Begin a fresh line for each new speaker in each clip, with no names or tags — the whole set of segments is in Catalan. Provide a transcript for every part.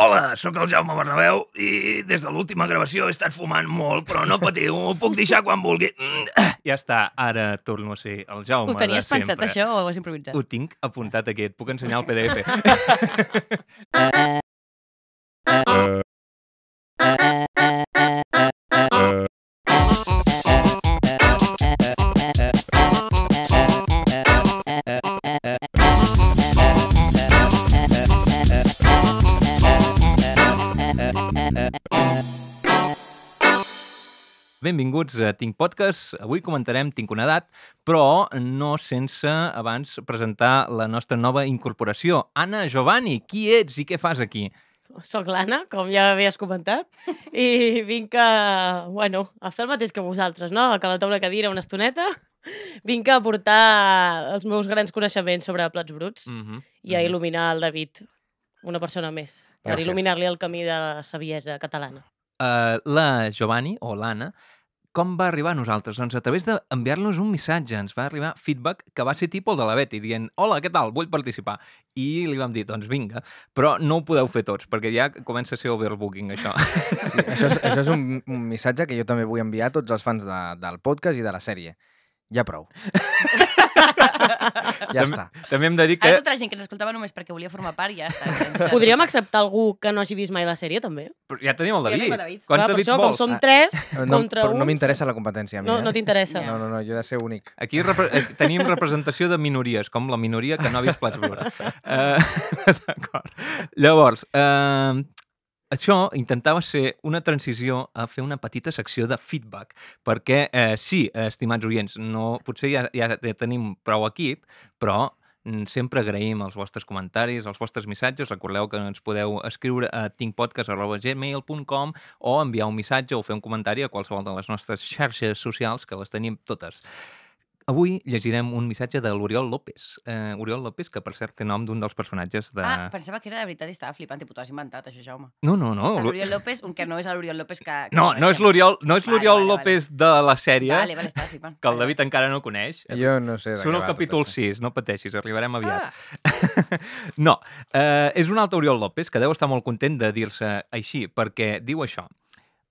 Hola, sóc el Jaume Bernabéu i des de l'última gravació he estat fumant molt, però no patiu, ho puc deixar quan vulgui. Mm,
Ja està, ara torno a ser el Jaume
Ho
de
tenies
sempre.
pensat, això, o ho has improvisat?
Ho tinc apuntat aquí, et puc ensenyar el PDF. Benvinguts a Tinc Podcast. Avui comentarem Tinc una edat, però no sense abans presentar la nostra nova incorporació. Anna Giovanni, qui ets i què fas aquí?
Soc l'Anna, com ja havies comentat, i vinc a, bueno, a fer el mateix que vosaltres, no? A calentar una cadira una estoneta. Vinc a aportar els meus grans coneixements sobre plats bruts mm.
-hmm.
i a il·luminar el David, una persona més, per
Gràcies.
il·luminar-li el camí de la saviesa catalana.
Uh, la Giovanni, o l'Anna, com va arribar a nosaltres? Doncs a través d'enviar-nos un missatge. Ens va arribar feedback que va ser tipus el de la Betty, dient hola, què tal, vull participar. I li vam dir, doncs vinga, però no ho podeu fer tots, perquè ja comença a ser overbooking, això.
Sí, això, és, això és un, un missatge que jo també vull enviar a tots els fans de, del podcast i de la sèrie. Ja prou.
També-
ja està.
També hem de dir que...
Ara tota la gent que ens escoltava només perquè volia formar part ja està. Ja
Podríem acceptar algú que no hagi vist mai la sèrie, també?
Però Ja tenim el
Ja
David.
tenim el David.
Quants
per
Davids
això,
vols?
com som
Ah,
tres,
No,
contra
però
un...
no m'interessa la competència a mi.
No,
eh?
no t'interessa.
no, no, no, jo he de ser únic.
Aquí repre- eh, tenim representació de minories, com la minoria que no ha vist Plats Bruts. Eh, D'acord. Llavors, eh, això intentava ser una transició a fer una petita secció de feedback, perquè eh, sí, eh, estimats oients, no, potser ja, ja, ja tenim prou equip, però mm, sempre agraïm els vostres comentaris, els vostres missatges. Recordeu que ens podeu escriure a tinkpodcast.gmail.com o enviar un missatge o fer un comentari a qualsevol de les nostres xarxes socials, que les tenim totes. Avui llegirem un missatge de l'Oriol López. Eh, Oriol López, que per cert té nom d'un dels personatges de...
Ah, pensava que era de veritat i estava flipant. Tipo, t'ho has inventat, això, Jaume.
No, no, no. l'O-
L'Oriol López, un que no és l'Oriol López que... que
No, no és
coneixem.
l'Oriol no és
Vale,
l'Oriol
vale, vale.
López de la sèrie,
Vale, vale, estava flipant.
que el David encara no coneix.
Jo no sé de
Són al
què va tot
capítol
això.
6, no pateixis, arribarem aviat. Ah. no, eh, és un altre Oriol López que deu estar molt content de dir-se així, perquè diu això.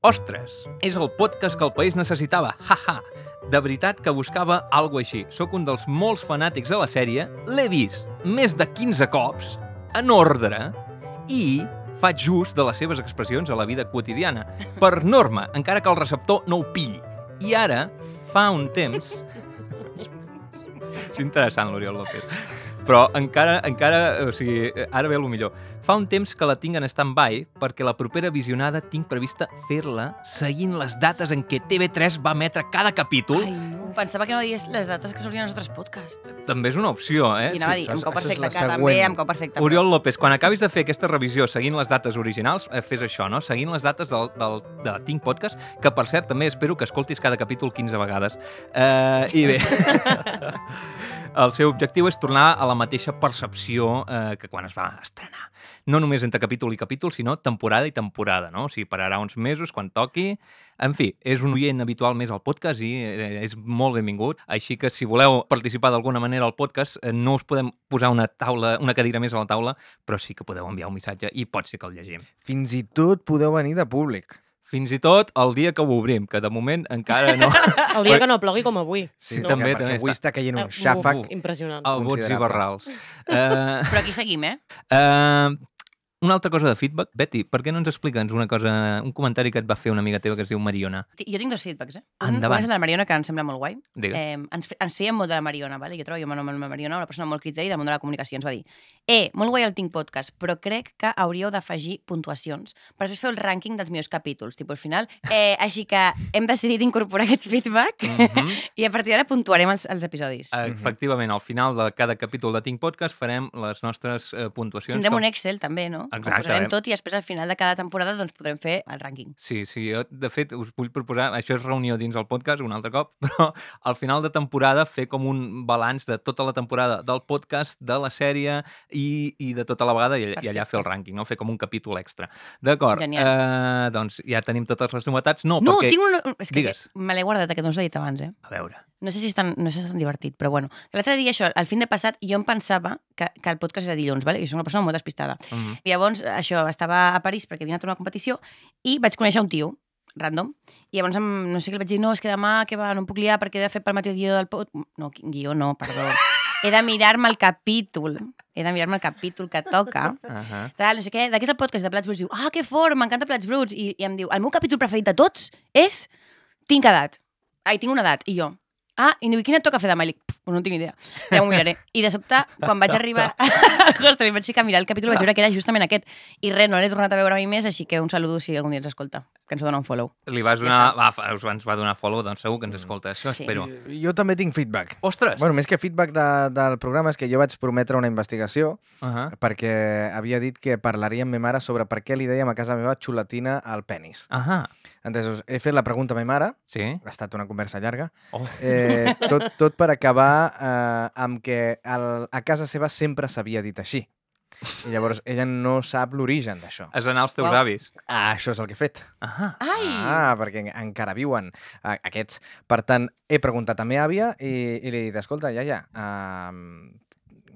Ostres, és el podcast que el país necessitava, ha, ha. De veritat que buscava alguna així. Sóc un dels molts fanàtics de la sèrie, l'he vist més de 15 cops, en ordre, i faig ús de les seves expressions a la vida quotidiana, per norma, encara que el receptor no ho pilli. I ara, fa un temps... És interessant, l'Oriol López. Però encara, encara, o sigui, ara ve el millor. Fa un temps que la tinc en stand-by perquè la propera visionada tinc prevista fer-la seguint les dates en què TV3 va emetre cada capítol.
Ai, no. Pensava que no deies les dates que s'obrien els nostres podcasts.
Ai. També és una opció, eh?
I anava a
sí,
dir,
això
em
és-
cau
això és
perfecte,
la
que també
següent.
em cau perfecte. però-
Oriol López, quan acabis de fer aquesta revisió seguint les dates originals, eh, fes això, no? Seguint les dates del, del, de la Tinc Podcast, que per cert també espero que escoltis cada capítol 15 vegades. Eh, I bé, el seu objectiu és tornar a la mateixa percepció eh, que quan es va estrenar. No només entre capítol i capítol, sinó temporada i temporada, no? O sigui, pararà uns mesos quan toqui. En fi, és un oient habitual més al podcast i eh, és molt benvingut. Així que si voleu participar d'alguna manera al podcast, eh, no us podem posar una taula, una cadira més a la taula, però sí que podeu enviar un missatge i pot ser que el llegim.
Fins i tot podeu venir de públic.
Fins i tot el dia que ho obrim, que de moment encara no.
El dia que no plogui com avui.
Sí,
no,
també, Oh.
perquè
també
avui
està.
està caient un
Eh,
xàfec.
buf, Impressionant.
El bots i
Considerable.
barrals. Eh,
Però aquí seguim, eh?
Eh, una altra cosa de feedback. Betty, per què no ens explica'ns una cosa, un comentari que et va fer una amiga teva que es diu Mariona?
Ti- Jo tinc dos feedbacks, eh?
Endavant.
Un, un és el de la Mariona, que em sembla molt guai.
Digues.
Eh, ens, fe- ens feien molt de la Mariona, vale? jo treballo amb amb la Mariona, una persona amb molt criteri del món de la comunicació, ens va dir «Eh, molt guai el Tinc Podcast, però crec que hauríeu d'afegir puntuacions per després fer el rànquing dels millors capítols, tipus al final. Eh, així que hem decidit incorporar aquest feedback
Mhm.
i a partir d'ara puntuarem els, els episodis.
Eh, Efectivament, al final de cada capítol de Tinc Podcast farem les nostres eh, puntuacions.
Tindrem
que-
un Excel, també, no? Ho
Exacte,
posarem
eh?
tot i després al final de cada temporada doncs, podrem fer el rànquing.
Sí, sí, jo de fet us vull proposar, això és reunió dins el podcast un altre cop, però al final de temporada fer com un balanç de tota la temporada del podcast, de la sèrie i, i de tota la vegada i, i allà fer el rànquing, no? fer com un capítol extra. D'acord, eh, doncs ja tenim totes les novetats. No,
No,
perquè...
tinc una... És que
Digues.
me l'he guardat, que no us l'he dit abans, eh?
A veure,
No sé si és tan, no sé si és tan divertit, però bueno. L'altre dia, això, al fin de passat, jo em pensava que, que el podcast era dilluns, vale? jo soc una persona molt despistada.
Mm -hmm.
I Llavors, això, estava a París perquè havia anat a una competició i vaig conèixer un tio, random, i llavors em, no sé què li vaig dir, no, és que demà que va, no em puc liar perquè he de fer pel matí el guió del pot... No, quin guió no, perdó. He de mirar-me el capítol. He de mirar-me el capítol que toca.
Uh -huh.
Tal, no sé què. D'aquí és el podcast de Plats Bruts. Diu, ah, que fort, m'encanta Plats Bruts. I, I em diu, el meu capítol preferit de tots és... Tinc edat. Ai, tinc una edat. I jo, ah, i diu, quina et toca fer demà? I dic, "Pff, pues no en tinc ni idea. Ja m'ho miraré. I de sobte, quan vaig arribar al hostel i vaig ficar a mirar el capítol, vaig veure que era justament aquest. I res, no l'he tornat a veure mai més, així que un saludo si algun dia ens escolta, que ens dona un follow.
Li vas
Ja Mm.
donar... Ja va, fa- us va- ens va donar follow, doncs segur que ens escolta. Això
Sí.
espero.
Jo també tinc feedback.
Ostres!
Bueno, més que feedback de, del programa és que jo vaig prometre una investigació
Uh -huh.
perquè havia dit que parlaria amb ma mare sobre per què li dèiem a casa meva xulatina al penis.
Ahà,
Entesos, he fet la pregunta a ma mare,
sí.
ha estat una conversa llarga,
Oh.
eh, tot, tot per acabar eh, amb que el, a casa seva sempre s'havia dit així. I llavors ella no sap l'origen d'això.
Has d'anar als teus
Uau.
avis.
Ah, això és el que he fet.
Ahà.
Ai!
Ah, perquè en- encara viuen a- aquests. Per tant, he preguntat a meva àvia i, i li he dit, escolta, iaia, um,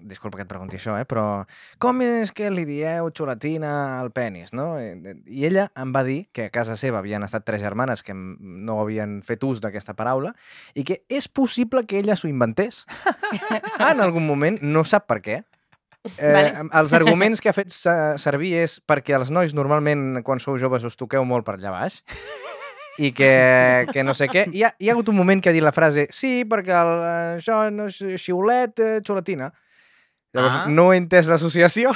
disculpa que et pregunti això, eh, però com és que li dieu xulatina al penis, no? I i ella em va dir que a casa seva havien estat tres germanes que m- no havien fet ús d'aquesta paraula i que és possible que ella s'ho inventés en algun moment, no sap per què, Eh,
Vale.
vale. Els arguments que ha fet se- servir és perquè els nois normalment, quan sou joves, us toqueu molt per allà baix i que, que no sé què. Hi ha, hi ha hagut un moment que ha dit la frase sí, perquè el, eh, això no és xiulet, eh, xulatina. Llavors,
Ah.
ah. no he entès l'associació.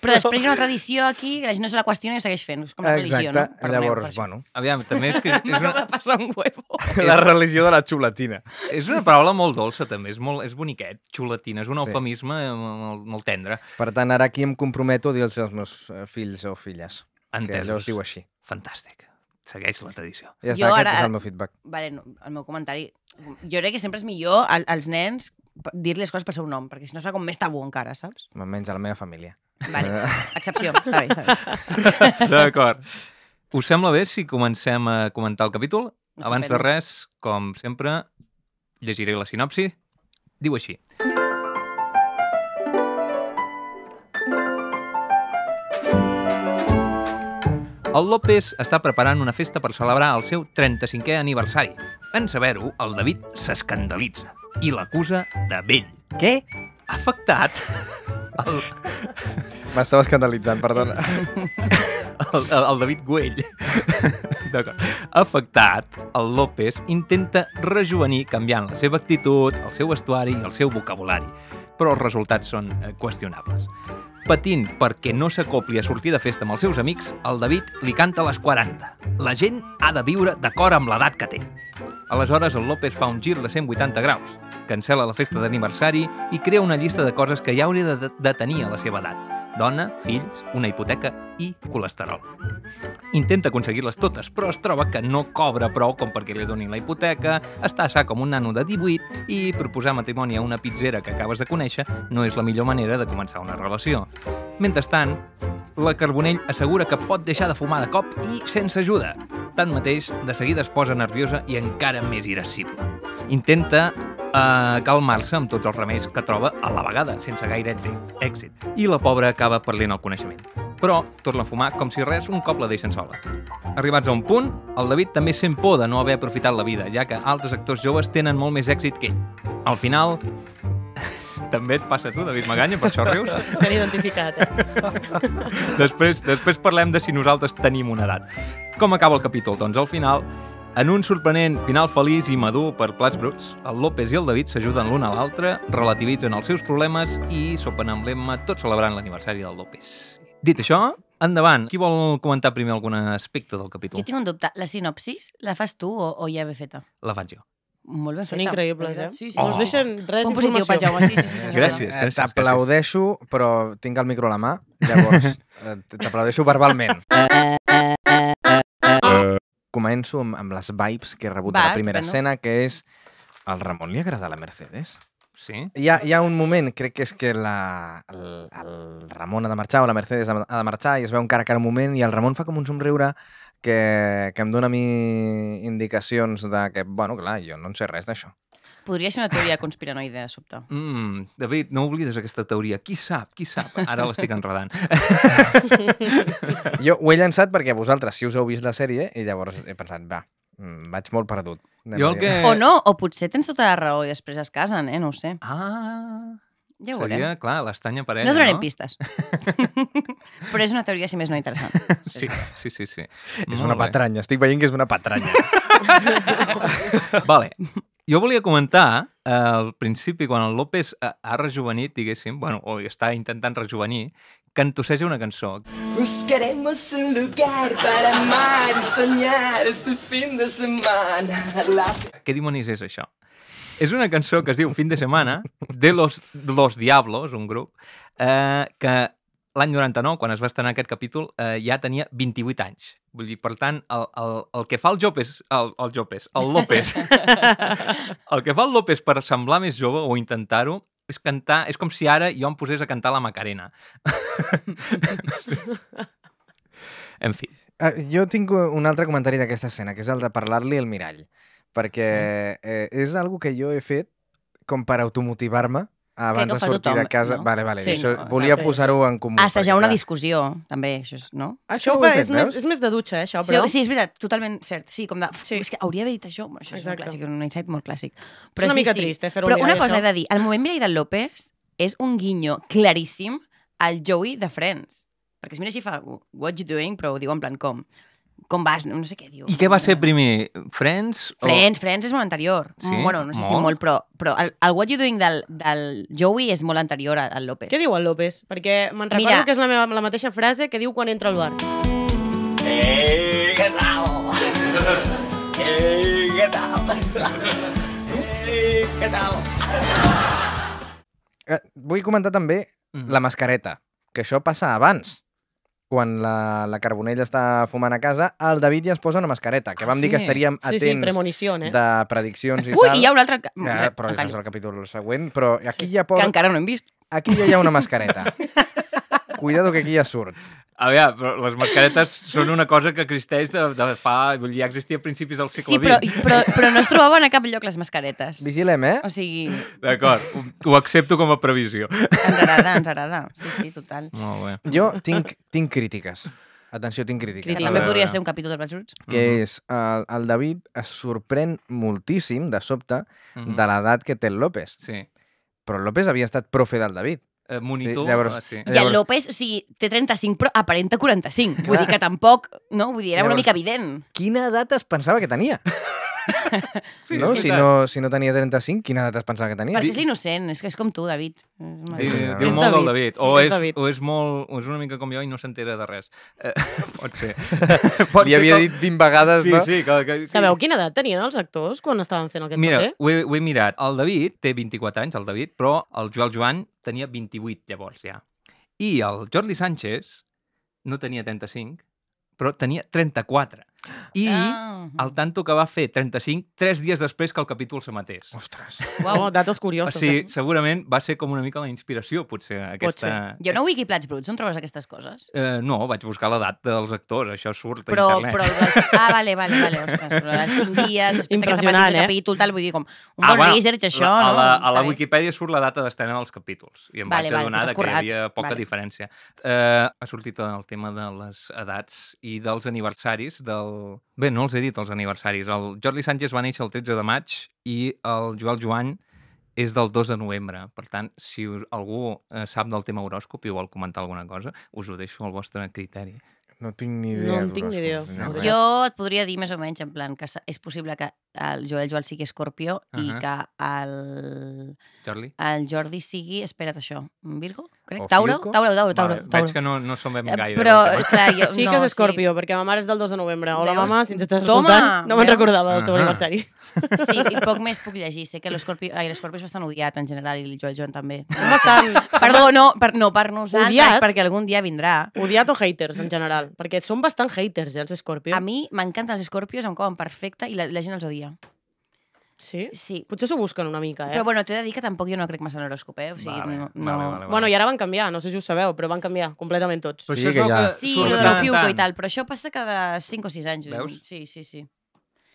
Però després hi ha una tradició aquí, que la gent no se la qüestiona i segueix fent. És com la religió, no? Perdoneu per
Llavors,
això.
bueno,
Aviam, també és que... És
M'acaba
una,
de passar un huevo.
la religió de la xulatina.
és una paraula molt dolça, també. És, molt, és boniquet, xulatina. És un
Sí.
eufemisme eh, molt, molt tendre.
Per tant, ara aquí em comprometo a dir als meus eh, fills o filles que allò
Entesos.
es diu així.
Fantàstic. Segueix la tradició.
Ja està,
Jo
aquest
ara-
és el meu feedback.
Vale, no, el meu comentari... Jo crec que sempre és millor al, als nens p- dir les coses pel seu nom, perquè si no serà com més tabú encara, saps?
Menys a la meva família.
Vale, excepció, està bé, està bé.
D'acord. Us sembla bé si comencem a comentar el capítol?
Estupendo.
Abans de res, com sempre, llegiré la sinopsi. Diu així. El López està preparant una festa per celebrar el seu 35è aniversari. En saber-ho, el David s'escandalitza i l'acusa de vell.
Què?
Afectat, el,
M'estava escandalitzant, perdona.
el, el David Güell. D'acord. Afectat, el López intenta rejuvenir canviant la seva actitud, el seu vestuari i el seu vocabulari, però els resultats són eh, qüestionables. Patint perquè no s'acopli a sortir de festa amb els seus amics, el David li canta a les 40. La gent ha de viure d'acord amb l'edat que té. Aleshores, el López fa un gir de 180 graus, cancela la festa d'aniversari i crea una llista de coses que ja hauria de, de tenir a la seva edat. Dona, fills, una hipoteca i colesterol. Intenta aconseguir-les totes, però es troba que no cobra prou com perquè li donin la hipoteca, està a sa com un nano de 18 i proposar matrimoni a una pizzera que acabes de conèixer no és la millor manera de començar una relació. Mentrestant, la Carbonell assegura que pot deixar de fumar de cop i sense ajuda. Tanmateix, de seguida es posa nerviosa i encara més irascible. Intenta eh, calmar-se amb tots els remeis que troba a la vegada, sense gaire èxit. èxit. I la pobra acaba perdent el coneixement. Però torna a fumar com si res un cop la deixen sola. Arribats a un punt, el David també sent por de no haver aprofitat la vida, ja que altres actors joves tenen molt més èxit que ell. Al final... també et passa a tu, David Maganya, per això rius?
S'han identificat, eh?
després, després parlem de si nosaltres tenim una edat. Com acaba el capítol? Doncs al final, en un sorprenent final feliç i madur per plats bruts, el López i el David s'ajuden l'un a l'altre, relativitzen els seus problemes i sopen amb l'Emma tot celebrant l'aniversari del López. Dit això, endavant. Qui vol comentar primer algun aspecte del
Jo
capítol?
tinc un dubte. La sinopsis la fas tu o, o ja ve feta?
La faig jo.
Molt ben
Són
feta.
increïbles, eh?
Sí, sí.
No
Oh.
ens deixen res
Punt positiu,
d'informació.
Pat Jaume. Sí, sí, sí, sí, sí.
Gràcies.
Eh, T'aplaudeixo, però tinc el micro a la mà, llavors eh, t'aplaudeixo verbalment. eh, Començo amb, amb les vibes que he rebut
Va,
de la primera
estupendo.
escena, que és... Al Ramon li agrada la Mercedes?
Sí?
Hi ha, hi ha un moment, crec que és que la, el, el Ramon ha de marxar o la Mercedes ha ha de marxar i es veu un cara a cara un moment i el Ramon fa com un somriure que, que em dona a mi indicacions de que, bueno, clar, jo no en sé res d'això.
Podria ser una teoria conspiranoide, de sobte.
Mm, David, no oblides aquesta teoria. Qui sap, qui sap? Ara l'estic enredant.
Jo ho he llançat perquè vosaltres, si us heu vist la sèrie, i llavors he pensat, va, mm, vaig molt perdut. Anem
Jo
a
el
dir-
que...
O no, o potser tens tota la raó i després es casen, eh? No ho sé.
Ah,
Ja ho veurem.
seria, clar, l'estanya parella,
No donarem
no?
pistes. Però és una teoria, si més no, interessant.
Sí, sí, sí. sí.
És
Molt
una
bé.
patranya, estic veient que és una patranya.
Vale. Jo volia comentar, eh, al principi, quan el López eh, ha rejuvenit, diguéssim, bueno, o està intentant rejuvenir, cantusseja una cançó.
Buscaremos un lugar para amar y soñar este fin de semana. La
Què dimonis és això? És una cançó que es diu Fin de Semana, de Los, los Diablos, un grup, eh, que l'any 99, quan es va estrenar aquest capítol, eh, ja tenia 28 anys. Vull dir, per tant, el, el, el que fa el Jopes, el, el Jopes, el López, el que fa el López per semblar més jove o intentar-ho és cantar, és com si ara jo em posés a cantar la Macarena. en fi.
Ah, jo tinc un altre comentari d'aquesta escena, que és el de parlar-li al mirall, perquè eh, és algo que jo he fet com per automotivar-me abans de
que ho fa
sortir de
tothom,
casa.
no?
Vale, vale,
Sí,
això,
no,
volia
exacte.
posar-ho en comú.
Assajar
perquè,
una
clar,
discussió, també, això és, no?
Això
Això ho
fa,
he fet,
és, més,
veus?
és més de dutxa, eh, això,
Sí,
però...
sí, és veritat, totalment cert. Sí, com de... Sí.
Sí.
És que hauria d'haver dit això. Bueno, això és un
Exacte.
clàssic, un insight molt clàssic.
Però és una
sí,
mica
sí.
trist, eh, fer-ho
Però una
mirar,
cosa he
això.
de dir, el moment Mireia López és un guinyo claríssim al Joey de Friends. Perquè es mira així i fa, what you doing? Però ho diu en plan com? Com vas? No sé què diu.
I què va ser primer? Friends? o-
Friends, Friends és molt anterior.
Sí?
Mm, Bueno, no sé si
Molt?
molt, però, però el, el What You Doing del, del Joey és molt anterior al, al López.
Què diu el López? Perquè me'n
Mira.
recordo que és la, meva, la mateixa frase que diu quan entra al bar.
¡Ey, qué tal! ¡Ey, qué tal! ¡Ey, qué tal!
Eh, Vull comentar també
Mm.
la mascareta, que això passa abans. Quan la, la Carbonell està fumant a casa, el David ja es posa una mascareta, que
Ah,
vam dir que
sí?
estaríem
Sí,
atents
sí, premonició, eh?
de prediccions i
Ui,
tal.
i hi ha un altre... Que...
Eh,
Ja, però això és el capítol següent, però aquí ja
que
pot...
encara no hem vist.
Aquí ja hi ha una mascareta. Cuidado que aquí ja surt.
A veure, però les mascaretes són una cosa que existeix de, de fa... Vull dir, ja existia a principis del segle
Sí, però,
XX.
però, però no es trobaven a cap lloc les mascaretes.
Vigilem, eh?
O sigui,
D'acord, ho, ho accepto com a previsió.
ens agrada, ens agrada. Sí, sí, total.
Molt bé.
Jo tinc, tinc crítiques. Atenció, tinc crítiques.
Crítiques.
Que
A
també
veure.
podria ser un capítol de Plats Bruts.
Que és, el, el David es sorprèn moltíssim, de sobte,
Mhm.
de l'edat que té el López.
Sí.
Però el López havia estat profe del David.
Eh, monitor...
Sí, llavors-
ah, sí.
I el
Llavors-
López, o sigui, té 35, però aparenta 45. Vull
Clar.
dir que tampoc, no? Vull dir, era una
Llavors-
mica evident.
Quina edat es pensava que tenia?
Sí,
no?
és
Si,
veritat.
no, si no tenia 35, quina edat es pensava que tenia?
Perquè és l'innocent, és que és com tu, David. És una-
Diu,
És
diu molt del David.
Sí,
O,
és
és,
David.
o és molt... O és una mica com jo i no s'entera de res. Eh, pot ser.
Li havia dit 20 vegades,
Sí,
no?
sí. Que, que,
Sabeu quina edat tenien els actors quan estaven fent aquest
Mira,
paper?
ho he, ho he mirat. El David té 24 anys, el David, però el Joel Joan tenia 28 llavors ja. I el Jordi Sánchez no tenia 35, però tenia 34. I
Ah.
el tanto que va fer 35 tres dies després que el capítol s'emetés.
Ostres.
Uau. No, dates
O
curiosos.
sigui,
eh?
segurament va ser com una mica la inspiració, potser, aquesta...
Hi ha una wiki Plats Bruts on trobes aquestes coses?
Eh, no, vaig buscar l'edat dels actors, això surt a
Però,
internet.
però... Les... Ah, vale, vale, vale, ostres. Però les 5 dies, després que s'ha
Impressionant,
el
eh?
capítol, tal, vull dir, com un bon research, això,
Ah, la,
no?
A la, a
Està
la
bé.
Wikipedia surt la data d'estrena dels capítols i em
Vale,
vaig
vale,
adonar
t'has
de que hi
currat.
havia poca
Vale.
diferència. Eh, ha sortit el tema de les edats i dels aniversaris del... Bé, no els he dit els aniversaris. El Jordi Sánchez va néixer el 13 de maig i el Joel Joan és del 2 de novembre. Per tant, si us, algú eh, sap del tema horòscop i vol comentar alguna cosa, us ho deixo al vostre criteri.
No tinc ni
No
idea.
en tinc ni
d'horòscops,
idea.
ni res.
Jo et podria dir més o menys en plan que s- és possible que el Joel Joel sigui escorpió uh -huh. i
Ahà.
que el,
Jordi?
el Jordi sigui, espera't això, Virgo? Crec?
O
Tauro?
Fiuco?
Tauro, Tauro, Tauro.
vale,
Tauro.
Veig que no, no som ben
Eh,
gaire.
Però,
del tema.
clar, jo,
Sí
no,
que és escorpió, perquè ma mare és del 2 de novembre. Hola,
Veus?
mama, si ens estàs
Toma,
escoltant, no me'n
veus?
recordava del teu
Ah.
Ahà.
aniversari.
Sí, sí, i poc més puc llegir. Sé que l'escorpió ai, l'escorpió és bastant odiat en general i el Joel Joan també.
Bastant
Perdó, no, per, no, per nosaltres,
Odiat?
perquè algun dia vindrà.
odiat o haters, en general. Perquè són bastant haters, eh, els Scorpio.
A mi m'encanten els escorpios, em couen perfecte i la, la gent els odia.
Sí?
Sí.
Potser s'ho busquen una mica, eh?
Però bueno, t'he de dir que tampoc jo no crec massa en l'horòscop, eh? O sigui,
Vale,
no,
vale,
no-
vale, vale.
Bueno, i ara van canviar, no sé si ho sabeu, però van canviar completament tots.
Però
Sí,
això es
que
veu
ja-
que
Sí,
surt
lo de
tant
la
en
Fiuco i
tant.
tal, però això passa cada 5 o 6 anys. jo
Veus?
dic. Sí, sí, sí.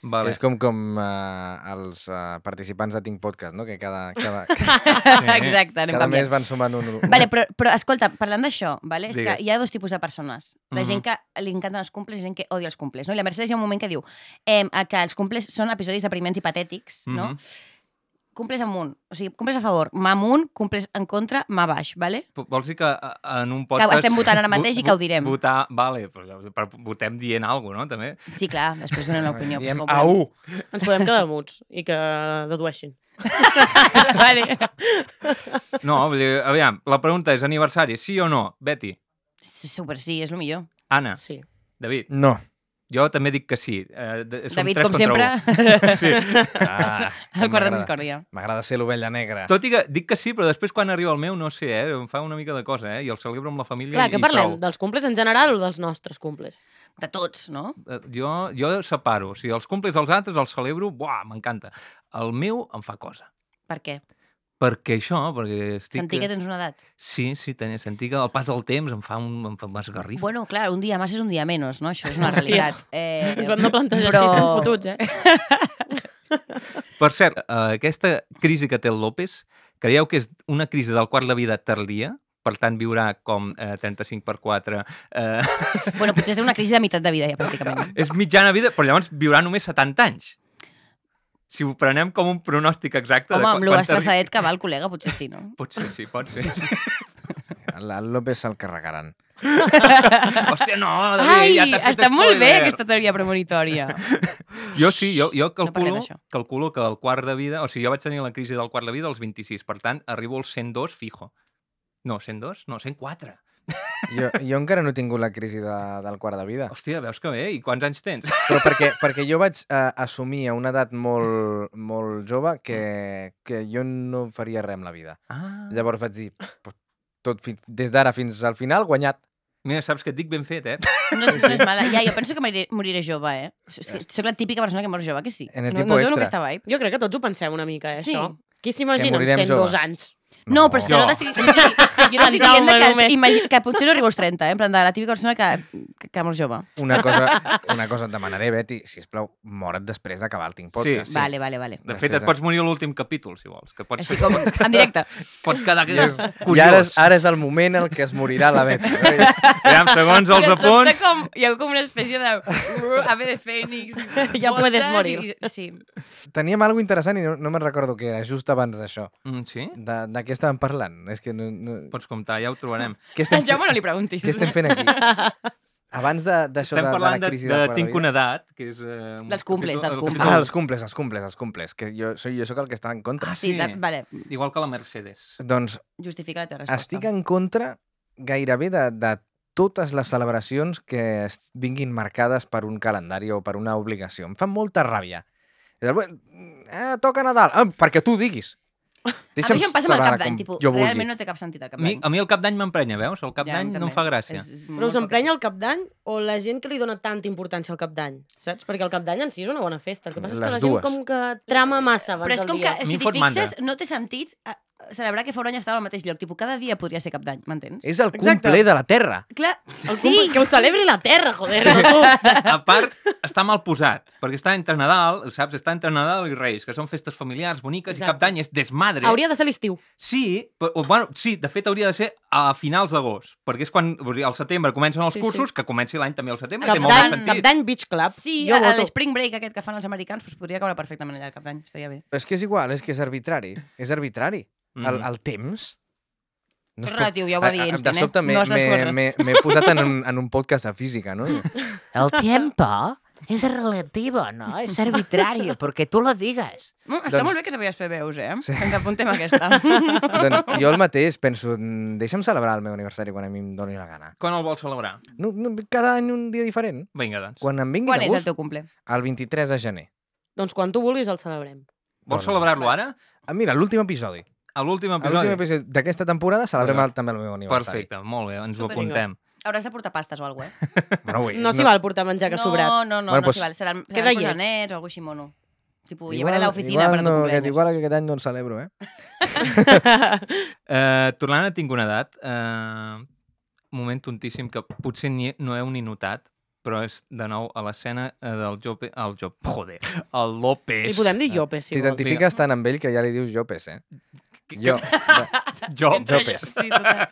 Vale.
Que és com, com uh, els uh, participants de Tinc Podcast, no? Que cada, cada,
Exacte, anem
cada
canviant.
mes van sumant un... un...
Vale, però, però escolta, parlant d'això, vale? és que
Digues.
hi ha dos tipus de persones. La
Mhm.
gent que li encanten els cumples i la gent que odia els cumples. No? I la Mercedes hi ha un moment que diu eh, que els cumples són episodis depriments i patètics, no?
Mhm.
Cumples amunt, o sigui, cumples a favor, mà amunt, cumples en contra, mà baix, vale?
Vols dir que eh, en un podcast...
estem votant ara
vo-
mateix i
vo-
que ho direm.
Votar, vale, però, però votem dient alguna cosa, no? També.
Sí, clar, després donem l'opinió.
Diem
però és que ho
au!
Ens podem quedar muts i que dedueixin. vale.
No, vull dir, aviam, la pregunta és aniversari, sí o no? Betty,
volem. Super, sí, és el millor.
Anna,
Sí.
David,
No.
jo també dic que sí. Eh, de- som
David,
tres
com
contra
sempre,
un. Sí.
Ah,
el quart de
m'agrada.
discòrdia.
M'agrada ser l'ovella negra.
Tot i que dic que sí, però després quan arriba el meu no sé, eh, em fa una mica de cosa, eh? I el celebro amb la família
Clar,
i,
que
i
parlem?
prou.
Dels cumples en general o dels nostres cumples?
De tots, no?
Eh, Jo, jo separo. O sigui, els comples dels altres els celebro, buah, m'encanta. El meu em fa cosa.
Per què?
Perquè això, perquè estic... eh,
Sentir que tens una edat.
Sí, sí, tenia sentir que el pas del temps em fa un, em fa un esgarrif.
Bueno, clar, un dia més és un dia menys, no? Això és una
Hòstia.
realitat. Eh,
Ens ho hem de plantejar però...
però-
així, estem fotuts, eh?
Per cert, eh, aquesta crisi que té el López, creieu que és una crisi del quart de vida tardia? Per tant, viurà com eh, 35 per 4... Eh,
Bueno, potser és una crisi de meitat de vida, ja, pràcticament.
és mitjana vida, però llavors viurà només 70 anys. Si ho prenem com un pronòstic exacte...
Home,
de
amb
quan, quan
l'estressadet que va el col·lega, potser sí, no?
Pot ser, sí, pot ser.
El el López se'l carregaran.
Hòstia, no, David,
Ai,
ja t'has fet
està molt bé
spoiler.
aquesta teoria premonitòria.
Jo sí, jo, jo calculo,
parlem
no
d'això.
calculo que el quart de vida... O sigui, jo vaig tenir la crisi del quart de vida als 26, per tant, arribo als 102 fijo. No, 102? No, 104.
Jo, jo encara no he tingut la crisi de, del quart de vida.
Hòstia, veus que bé? I quants anys tens?
Però perquè, perquè jo vaig eh, assumir a una edat molt, molt jove que, que jo no faria res amb la vida.
Ah.
Llavors vaig dir, "Pues, tot fi, des d'ara fins al final, guanyat.
Mira, saps que et dic ben fet, eh?
No és, no és mala. Ja, jo penso que moriré, moriré jove, eh? Soc la típica persona que mor jove, que sí.
En el
no,
tipo
no
extra.
dono aquesta vibe.
Jo crec que tots ho pensem una mica, eh,
Sí.
això. Qui s'imagina amb
morirem
102
jove.
anys?
No, però és que no,
No.
t'estic... o sigui, Jo no
En
estic dient
Jaume
que,
només.
imagina, que potser no arribo als 30, eh? En plan, de la típica persona que, que, que mor jove.
Una cosa, una cosa et demanaré, Betty, sisplau, mora't després d'acabar el Tinc Podcast.
Sí.
Vale, vale, vale.
De
Després
fet, et
de-
pots morir a l'últim capítol, si vols. Que pots,
Així com, en directe.
Pot quedar
I, és,
yes.
I
curiós.
ara és, ara és el moment en què es morirà la Betty.
Aviam, segons els
de sobte
apunts...
Com, hi ha com una espècie de... Uh, ave de fènix.
Ja
voltes
puedes morir.
i- Sí.
Teníem alguna interessant i no, no me'n recordo què era, just abans d'això.
Mm, sí?
De, de què estàvem parlant? És que no, no...
Pots comptar, ja ho trobarem.
Què estem,
En Jaume no li preguntis.
què estem fent aquí? Abans de- d'això de,
Estem
de, de,
parlant
la
de,
crisi
de,
del quart
Tinc
vida-
una edat, que és... Eh, un
Dels cumples, dels
el
cumples.
capítol-
Ah, els cumples, els cumples, els cumples, que jo soc, jo sóc el que està en contra.
Ah,
Sí,
sí.
de, vale,
Igual que la Mercedes.
Doncs
justifica la teva resposta.
estic en contra gairebé de, de totes les celebracions que es vinguin marcades per un calendari o per una obligació. Em fa molta ràbia. És el, "Bueno, Eh, toca Nadal, ah, perquè tu ho diguis.
a mi això em passa amb el
celebrar
cap d'any,
com
tipus,
jo vulgui.
realment no té cap sentit el
A
cap
mi,
d'any.
a mi el cap d'any m'emprenya, veus? El cap d'any no em fa gràcia.
És, és
Però us emprenya el cap d'any o la gent que li dona tanta importància al cap d'any, saps? Perquè el cap d'any en si és una bona festa. El que passa és que
Les
la gent
dues.
com que trama massa abans
Però és
del
com que,
dia.
A mi
si
em
t'hi
fot mandra.
fixes, no té sentit eh, celebrar que fa un any estava al mateix lloc. Tipus, cada dia podria ser cap d'any, m'entens?
És el
Exacte.
cumple de la Terra.
Clar,
El
sí,
cumple- Que ho celebri la terra, joder, no tu. saps?
A part, està mal posat, perquè està entre Nadal, saps? Està entre Nadal i Reis, que són festes familiars, boniques, i
Exacte.
cap d'any és desmadre.
Hauria de ser l'estiu.
Sí, però, bueno, sí, de fet hauria de ser a finals d'agost, perquè és quan o sigui, al setembre comencen els
Sí,
sí,
sí.
cursos, sí. que comenci l'any també al setembre,
Cap
té molt
d'any,
de
cap
sentit.
d'any Beach Club.
sí,
jo
el
voto.
spring break aquest que fan els americans doncs podria caure perfectament allà al cap d'any, estaria bé.
És que és igual, és que és arbitrari. És arbitrari. Mm. El, el temps... No
No
es
és
pot-
relatiu, ja ho Mm-hmm. va dir
A- a-
Einstein,
De sobte m'he
eh? No es
m'he-
desborra.
m'he- m'he posat en un, en un podcast de física, no?
El tiempo es relativo, ¿no? Es arbitrario, porque tú lo digas.
Mm, està
Doncs-
molt bé que sabies fer veus, eh?
Sí.
Sí. Ens apuntem a aquesta.
doncs jo el mateix penso, "Mm, deixa'm celebrar el meu aniversari quan a mi em doni la gana.
Quan el vols celebrar?
No, no, cada any un dia diferent.
Vinga, doncs. Quan...
Quan em vingui
Quan
de
és el
gust,
teu cumple?
el 23 de gener.
Doncs quan tu vulguis el celebrem.
Vols
Doncs-
celebrar-lo ara?
Ah, mira, l'últim episodi.
A l'últim
A L'últim
episodi?
episodi d'aquesta temporada celebrem
Vinga.
el, també el meu aniversari.
Perfecte, molt bé, ens ho
Super, vinga.
apuntem.
Hauràs de portar pastes o alguna cosa, eh?
Bueno, avui,
No s'hi val portar menjar que ha
no,
sobrat.
No, no,
Bueno,
no
pues-
s'hi val. Seran,
Queda
seran
lleig.
cosanets o algo així mono. Tipo, llevaré a l'oficina per
igual
a tu
no,
cumpleaños.
aquest, igual que aquest any no el celebro, eh?
Eh, tornant a Tinc una edat, eh, moment tontíssim que potser ni, no heu ni notat, però és de nou a l'escena eh, del Jope... El Jope... Joder, el López.
Li podem dir Jope, si vols.
T'identifiques tant amb ell que ja li dius Jopes, eh? Jo, va,
Jo,
Entre Jopes.
Sí, total.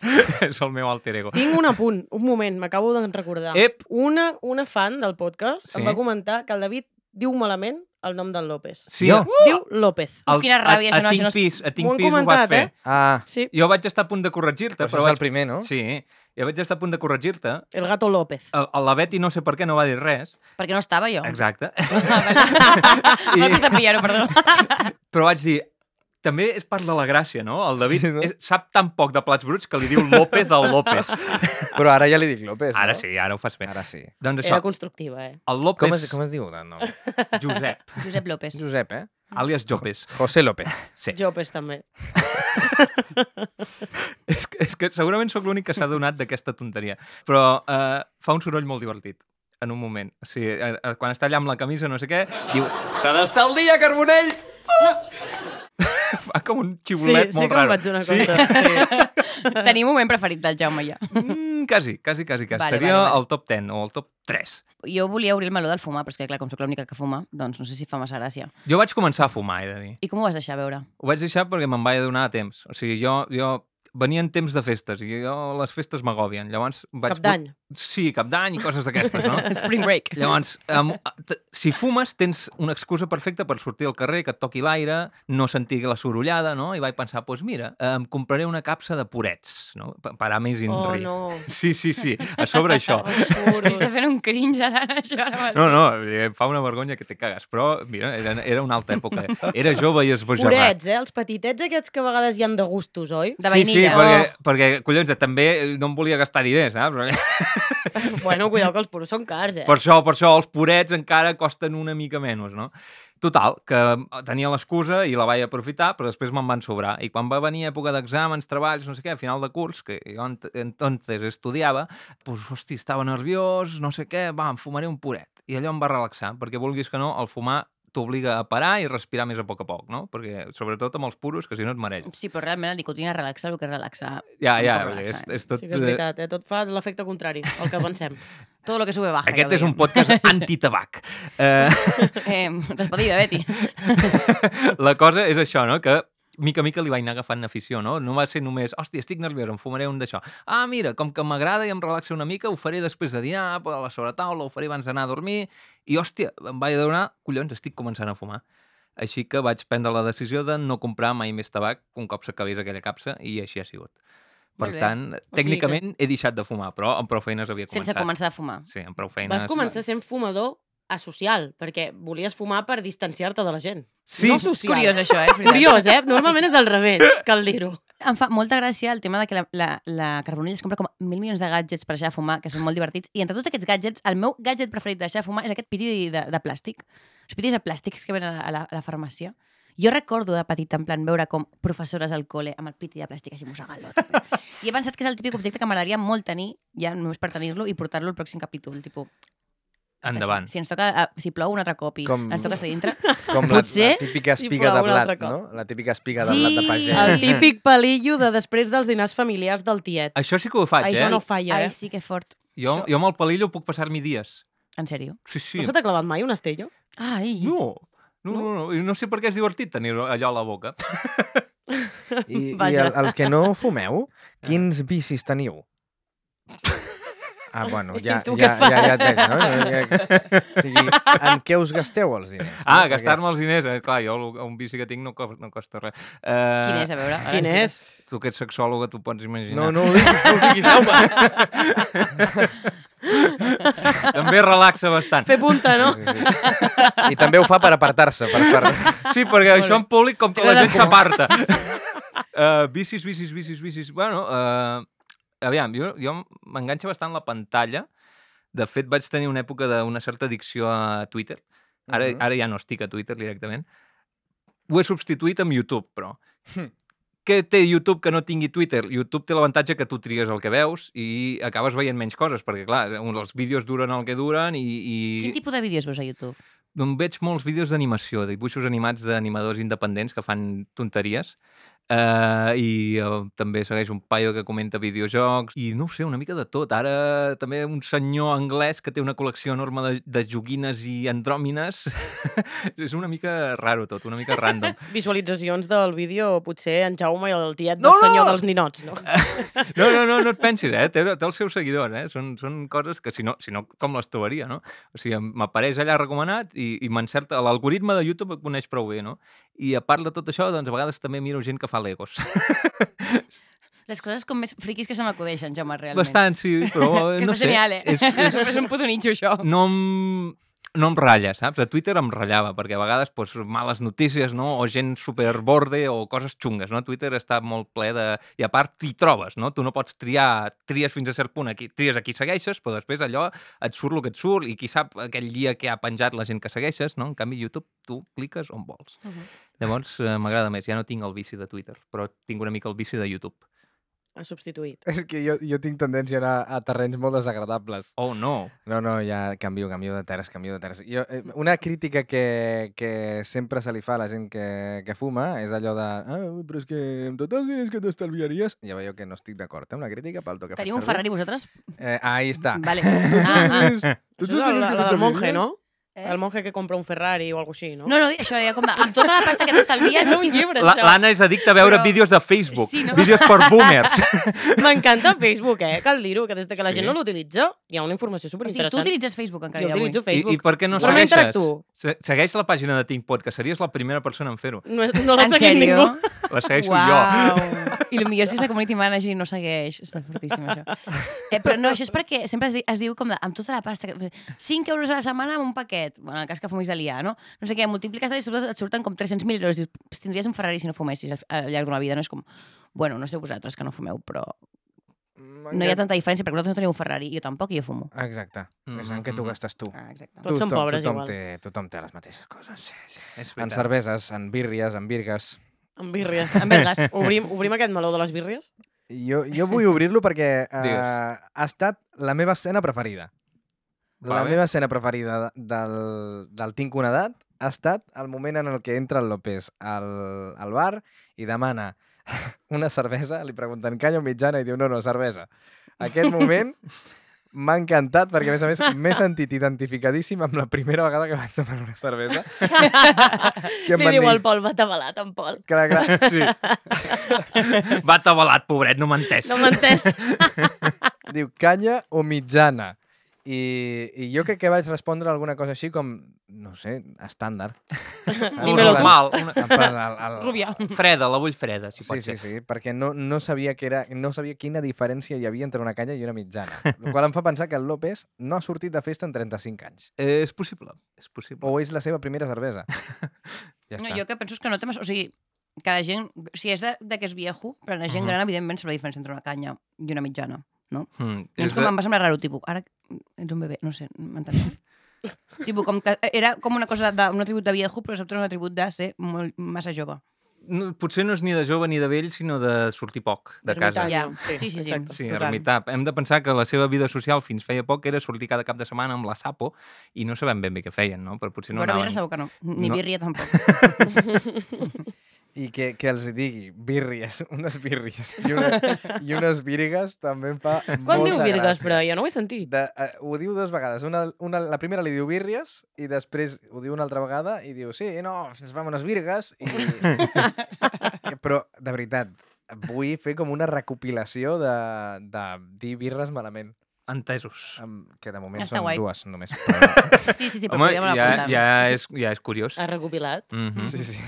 és el meu alter ego.
Tinc un apunt, un moment, m'acabo de recordar.
Ep!
Una, una fan del podcast sí.
Sí.
em va comentar que el David diu malament el nom del López. Uh!
Sí, Ah!
Jo?
Diu López.
el-
quina ràbia,
a,
això no-
a
això no
Tinc
es-
Pis, a
M'ho
Tinc
han
Pis ho va
comentat,
fer.
eh?
ah,
Sí,
Jo vaig estar a punt de corregir-te,
però
però,
això és el
vaig...
primer, no?
Sí, jo vaig estar a punt de corregir-te.
el gato López.
El- el- La Betty no sé per què no va dir res.
Perquè no estava jo.
Exacte.
I... No t'has de
Eh,
pillar-ho, perdó.
Però vaig dir, també és part de la gràcia, no? El David
Sí,
sí,
no?
no? És, sap tan poc de plats bruts que li diu López al López.
Però ara ja li dic López,
Ara
no?
sí, ara ho fas bé.
Ara sí.
Doncs això,
Era constructiva, eh?
el López
Com es, com es diu? No.
Josep,
Josep López.
Josep, eh?
àlies Jopes.
José López.
Sí.
Jopes també.
És que, és que segurament sóc l'únic que s'ha donat d'aquesta tonteria. Però eh, fa un soroll molt divertit en un moment. O sigui, eh, eh, quan està allà amb la camisa, no sé què, diu...
Se n'està el dia, Carbonell!
Fa com un
Sí,
xiulet
sí
molt
que me'n
raro.
vaig donar compte. Sí.
Tenim un moment preferit del Jaume ja.
Mm, quasi, quasi, quasi. que
Vale,
Estaria
vale, vale.
al top 10 o al top 3.
Jo volia obrir el meló del fumar, però és que, clar, com sóc l'única que fuma, doncs no sé si fa massa gràcia.
Jo vaig començar a fumar, he de dir.
I com ho vas deixar veure?
Ho vaig deixar perquè me'n vaig adonar a temps. O sigui, jo, jo venia en temps de festes i jo les festes m'agobien. Llavors vaig...
Cap d'any.
Sí, cap d'any i coses d'aquestes, no?
Spring break.
Llavors, um, si fumes, tens una excusa perfecta per sortir al carrer, que et toqui l'aire, no sentir la sorollada, no? I vaig pensar, doncs pues mira, em compraré una capsa de purets, no? Pa- Parar més in
Oh,
ri.
no.
Sí, sí, sí, a sobre això.
Els
Està
puros.
fent un cringe ara, això ara mateix.
No, no, em fa una vergonya que te cagues, però mira, era, era una altra època. Era jove i esbojarrat.
Purets, eh? Els petitets aquests que a vegades hi han de gustos, oi?
De
sí, sí,
vainilla.
perquè, perquè, collons, també no em volia gastar diners, saps? Perquè-
Bueno, cuidao que els puros són cars, eh?
Per això, per això els purets encara costen una mica menys, no? Total, que tenia l'excusa i la vaig aprofitar, però després me'n van sobrar. I quan va venir època d'exàmens, treballs, no sé què, a final de curs, que jo ent- entonces estudiava, doncs, hosti, estava nerviós, no sé què, va, em fumaré un puret. I allò em va relaxar, perquè vulguis que no, el fumar t'obliga a parar i respirar més a poc a poc, no? Perquè, sobretot amb els puros, que si no et mereix.
Sí, però realment la nicotina relaxa el que relaxa.
Ja,
Un
ja,
poc relaxa,
és,
eh?
és tot...
Sí que és
eh,
veritat, eh? Tot fa l'efecte contrari, el que pensem.
Todo lo que sube baja.
Aquest
ja ho
és un
dèiem.
podcast antitabac. Eh,
Eh, despedida, Betty.
la cosa és això, no? Que mica a mica li vaig anar agafant afició, no? No va ser només, hòstia, estic nerviós, em fumaré un d'això. Ah, mira, com que m'agrada i em relaxa una mica, ho faré després de dinar, a la sobretaula, ho faré abans d'anar a dormir, i hòstia, em vaig adonar, collons, estic començant a fumar. Així que vaig prendre la decisió de no comprar mai més tabac un cop s'acabés aquella capsa, i així ha sigut. Per
Molt bé.
tant,
que-
tècnicament he deixat de fumar, però amb prou feines havia començat.
Sense començar a fumar.
Sí, amb prou feines.
Vas començar sent fumador asocial, perquè volies fumar per distanciar-te de la gent.
Sí,
No
És
social.
curiós, això, eh? És veritat.
Curiós, eh? Normalment és al revés, cal dir-ho.
Em fa molta gràcia el tema de que la, la, la Carbonell es compra com mil milions de gadgets per deixar de fumar, que són molt divertits, i entre tots aquests gadgets, el meu gadget preferit de deixar de fumar és aquest piti de, de plàstic. Els pitis de plàstics que venen a la, a la farmàcia. Jo recordo de petita, en plan, veure com professores al col·le amb el piti de plàstic així mossegant-lo. I he pensat que és el típic objecte que m'agradaria molt tenir, ja només per tenir-lo i portar-lo al pròxim capítol. Tipo,
Endavant.
Així, si ens toca, ah, si plou un altre cop i
Com-
com... ens toca estar dintre,
Com la, la
Potser
típica
si
espiga de
plou un altre
blat,
cop.
no? La típica espiga de
Sí,
blat de
El
pagès.
típic palillo de després dels dinars familiars del tiet.
Això sí que ho faig,
Això
eh?
no falla,
ai,
eh?
sí que fort.
Jo,
Això-
jo amb el palillo puc passar-m'hi dies.
En sèrio.
Sí, sí.
No se t'ha clavat mai un estello?
Ai,
No. No, no, no. I no sé per què és divertit tenir allò a la boca.
I, i
Vaja. Ah.
el, els que no fumeu, quins vicis teniu? Ah, bueno, ja,
I tu
ja,
què
ja,
fas?
ja et veig, no? Ja, ja, o sigui, en què us gasteu els diners? no?
Ah,
Perquè-
gastar-me els diners. Eh? Clar, jo el- un bici que tinc no, co- no costa res. Eh,
Quin és, a veure?
Quin és?
Tu que ets sexòloga t'ho pots imaginar.
No, no ho diguis, no ho diguis, home!
També relaxa bastant.
Fer punta, Ah, no?
Sí, sí. I també ho fa per apartar-se, per, per...
Sí, perquè això en públic com que la
Tenen en
gent s'aparta. Uh, bicis, bicis, bicis, bicis... Bueno, uh, aviam, jo, jo m'enganxa bastant la pantalla. De fet, vaig tenir una època d'una certa addicció a Twitter. Ara, uh
Mhm.
-huh. ara ja no estic a Twitter directament. Ho he substituït amb YouTube, però.
Hm.
Què té YouTube que no tingui Twitter? YouTube té l'avantatge que tu tries el que veus i acabes veient menys coses, perquè, clar, un- els vídeos duren el que duren i... i...
Quin tipus de vídeos veus a YouTube?
Doncs Em veig molts vídeos d'animació, de dibuixos animats d'animadors independents que fan tonteries. Uh, I uh, també segueix un paio que comenta videojocs i no ho sé, una mica de tot. Ara també un senyor anglès que té una col·lecció enorme de, de joguines i andròmines. és una mica raro tot, una mica random.
Visualitzacions del vídeo, potser en Jaume i el tiet
No,
del senyor
no!
dels ninots, no?
Eh.
No, no, no, no et pensis, eh? Té, té els seus seguidors, eh? Són, són coses que, si no, si no com les trobaria, no? O sigui, em- m'apareix allà recomanat i, i m'encerta... L'algoritme de YouTube et coneix prou bé, no? I a part de tot això, doncs a vegades també miro gent que fa legos.
Les coses com més friquis que se m'acudeixen, Jaume, realment.
Bastant, sí, però eh,
que
no
està
sé.
genial, eh?
És, és,
és un puto nitxo, això.
no em, no em ratlla, saps? A Twitter em ratllava, perquè a vegades doncs, males notícies, no? O gent superborde o coses xungues, no? Twitter està molt ple de... I a part t'hi trobes, no? Tu no pots triar, tries fins a cert punt, aquí, tries a qui segueixes, però després allò et surt el que et surt i qui sap aquell dia que ha penjat la gent que segueixes, no? En canvi, YouTube, tu cliques on vols.
Mhm.
Llavors, eh, m'agrada més. Ja no tinc el vici de Twitter, però tinc una mica el vici de YouTube.
Ha substituït.
És que jo, jo tinc tendència a anar a terrenys molt desagradables.
Oh, no!
No, no, ja canvio, canvio de terres, canvio de terres. Jo, eh, una crítica que, que sempre se li fa a la gent que, que fuma és allò de ah, però és que amb tots els diners que t'estalviaries... Ja veieu que no estic d'acord, eh? Una crítica pel to que
Teniu un
faig servir.
Ferrari vosaltres?
Eh, ahí està. Doncs
Vale. Ah, ah.
Això és la, la del monje, no?
Eh?
El monje que compra un Ferrari o alguna així, no?
No, no, això ja com de... Amb tota la pasta que t'estalvies...
és un llibre,
La-
això.
L'Anna és addicta a veure
Però-
vídeos de Facebook,
Sí, no?
vídeos per boomers.
M'encanta Facebook, eh? Cal dir-ho, que des de que la
Sí.
gent no l'utilitza hi ha una informació
O sigui, tu
superinteressant.
utilitzes Facebook encara
Jo
dia d'avui.
utilitzo
I, I
Facebook.
per què no
Però no
segueixes?
interactuo.
Se- Segueix la pàgina de Tinc Pot, que series la primera persona en fer-ho.
No, no la
en
seguim
sèrio?
ningú.
La segueixo jo.
Uau. I el millor és que és la community manager i no segueix. Està fortíssim, això. Eh, però no, això és perquè sempre es, di- es diu com de, amb tota la pasta... Que, 5 euros a la setmana amb un paquet. Bueno, en el cas que fumis de liar, no? No sé què, multipliques i sobretot et surten com 300.000 euros. Dius, "Pues, tindries un Ferrari si no fumessis al- al llarg d'una vida. No és com, bueno, no sé vosaltres que no fumeu, però no hi ha tanta diferència perquè vosaltres no teniu un Ferrari i jo tampoc i jo fumo.
Exacte. És en què tu
Mhm.
gastes tu.
Ah, exacte.
Tots som
Tothom-
pobres
tothom
igual.
Té, tothom té les mateixes coses.
És
En
veritat.
cerveses, en bírries, en virgues...
Amb birries.
Amb birres.
Obrim, obrim aquest meló de les birries?
Jo, jo vull obrir-lo perquè eh,
Digues.
ha estat la meva escena preferida. La
Vale.
meva escena preferida de- del, del Tinc una edat ha estat el moment en el que entra el López al, al bar i demana una cervesa, li pregunten calla o mitjana i diu no, no, cervesa. Aquest moment m'ha encantat perquè, a més a més, m'he sentit identificadíssim amb la primera vegada que vaig demanar una cervesa. Que em
Li
van
diu
dir,
al Pol, va tabalat, en Pol.
Clar, clar,
Sí. Va atabalat, pobret, no m'ha entès.
No m'ha entès.
Diu, canya o mitjana? I, I jo crec que vaig respondre alguna cosa així com, no ho sé, estàndard.
Dímelo tu.
Normal. Una...
En plan, el, el...
Rubià.
Freda, la vull freda, si
Sí,
pot ser.
sí, sí, perquè no, no, sabia que era, no sabia quina diferència hi havia entre una canya i una mitjana. El qual em fa pensar que el López no ha sortit de festa en 35 anys.
Eh, és possible, és possible.
O és la seva primera cervesa. Ja
No,
està.
jo que penso és que no té massa... O sigui, que la gent... Si és de, de que és viejo, però la gent
Mhm.
gran, evidentment, sap la diferència entre una canya i una mitjana.
Oh,
Mm,
I és
és
com
de...
em va semblar raro, tipus, ara ets un bebè, no sé, m'entens? tipo, com que era com una cosa d'un atribut de viejo, però sobretot un atribut de ser molt, massa jove.
No, potser no és ni de jove ni de vell, sinó de sortir poc de casa.
Ermitanya.
Ja. Sí, sí, sí.
exacte.
Sí,
Total.
ermità. Hem de pensar que la seva vida social fins feia poc era sortir cada cap de setmana amb la Sapo i no sabem ben bé què feien, no? Però potser
No,
no
bueno, birra
anaven...
segur que no. Ni
No.
no. birria tampoc.
I que, que els digui birries, unes birries i, una, i unes virgues també em fa
Quan
molta
diu birgues,
gràcia.
però jo no ho he
Doncs
sentit.
De, eh, ho diu dues vegades. Una, una, la primera li diu birries i després ho diu una altra vegada i diu, sí, no, ens vam unes virgues. I... Però, de veritat, vull fer com una recopilació de, de dir birres malament.
Entesos.
Amb, que de moment
Està
són
guai.
dues només. Però...
Sí, sí, sí, però
Home,
podríem anar
ja,
apuntant.
ja, és, ja és curiós.
Ha recopilat.
Mm-hmm.
Mhm.
sí, sí.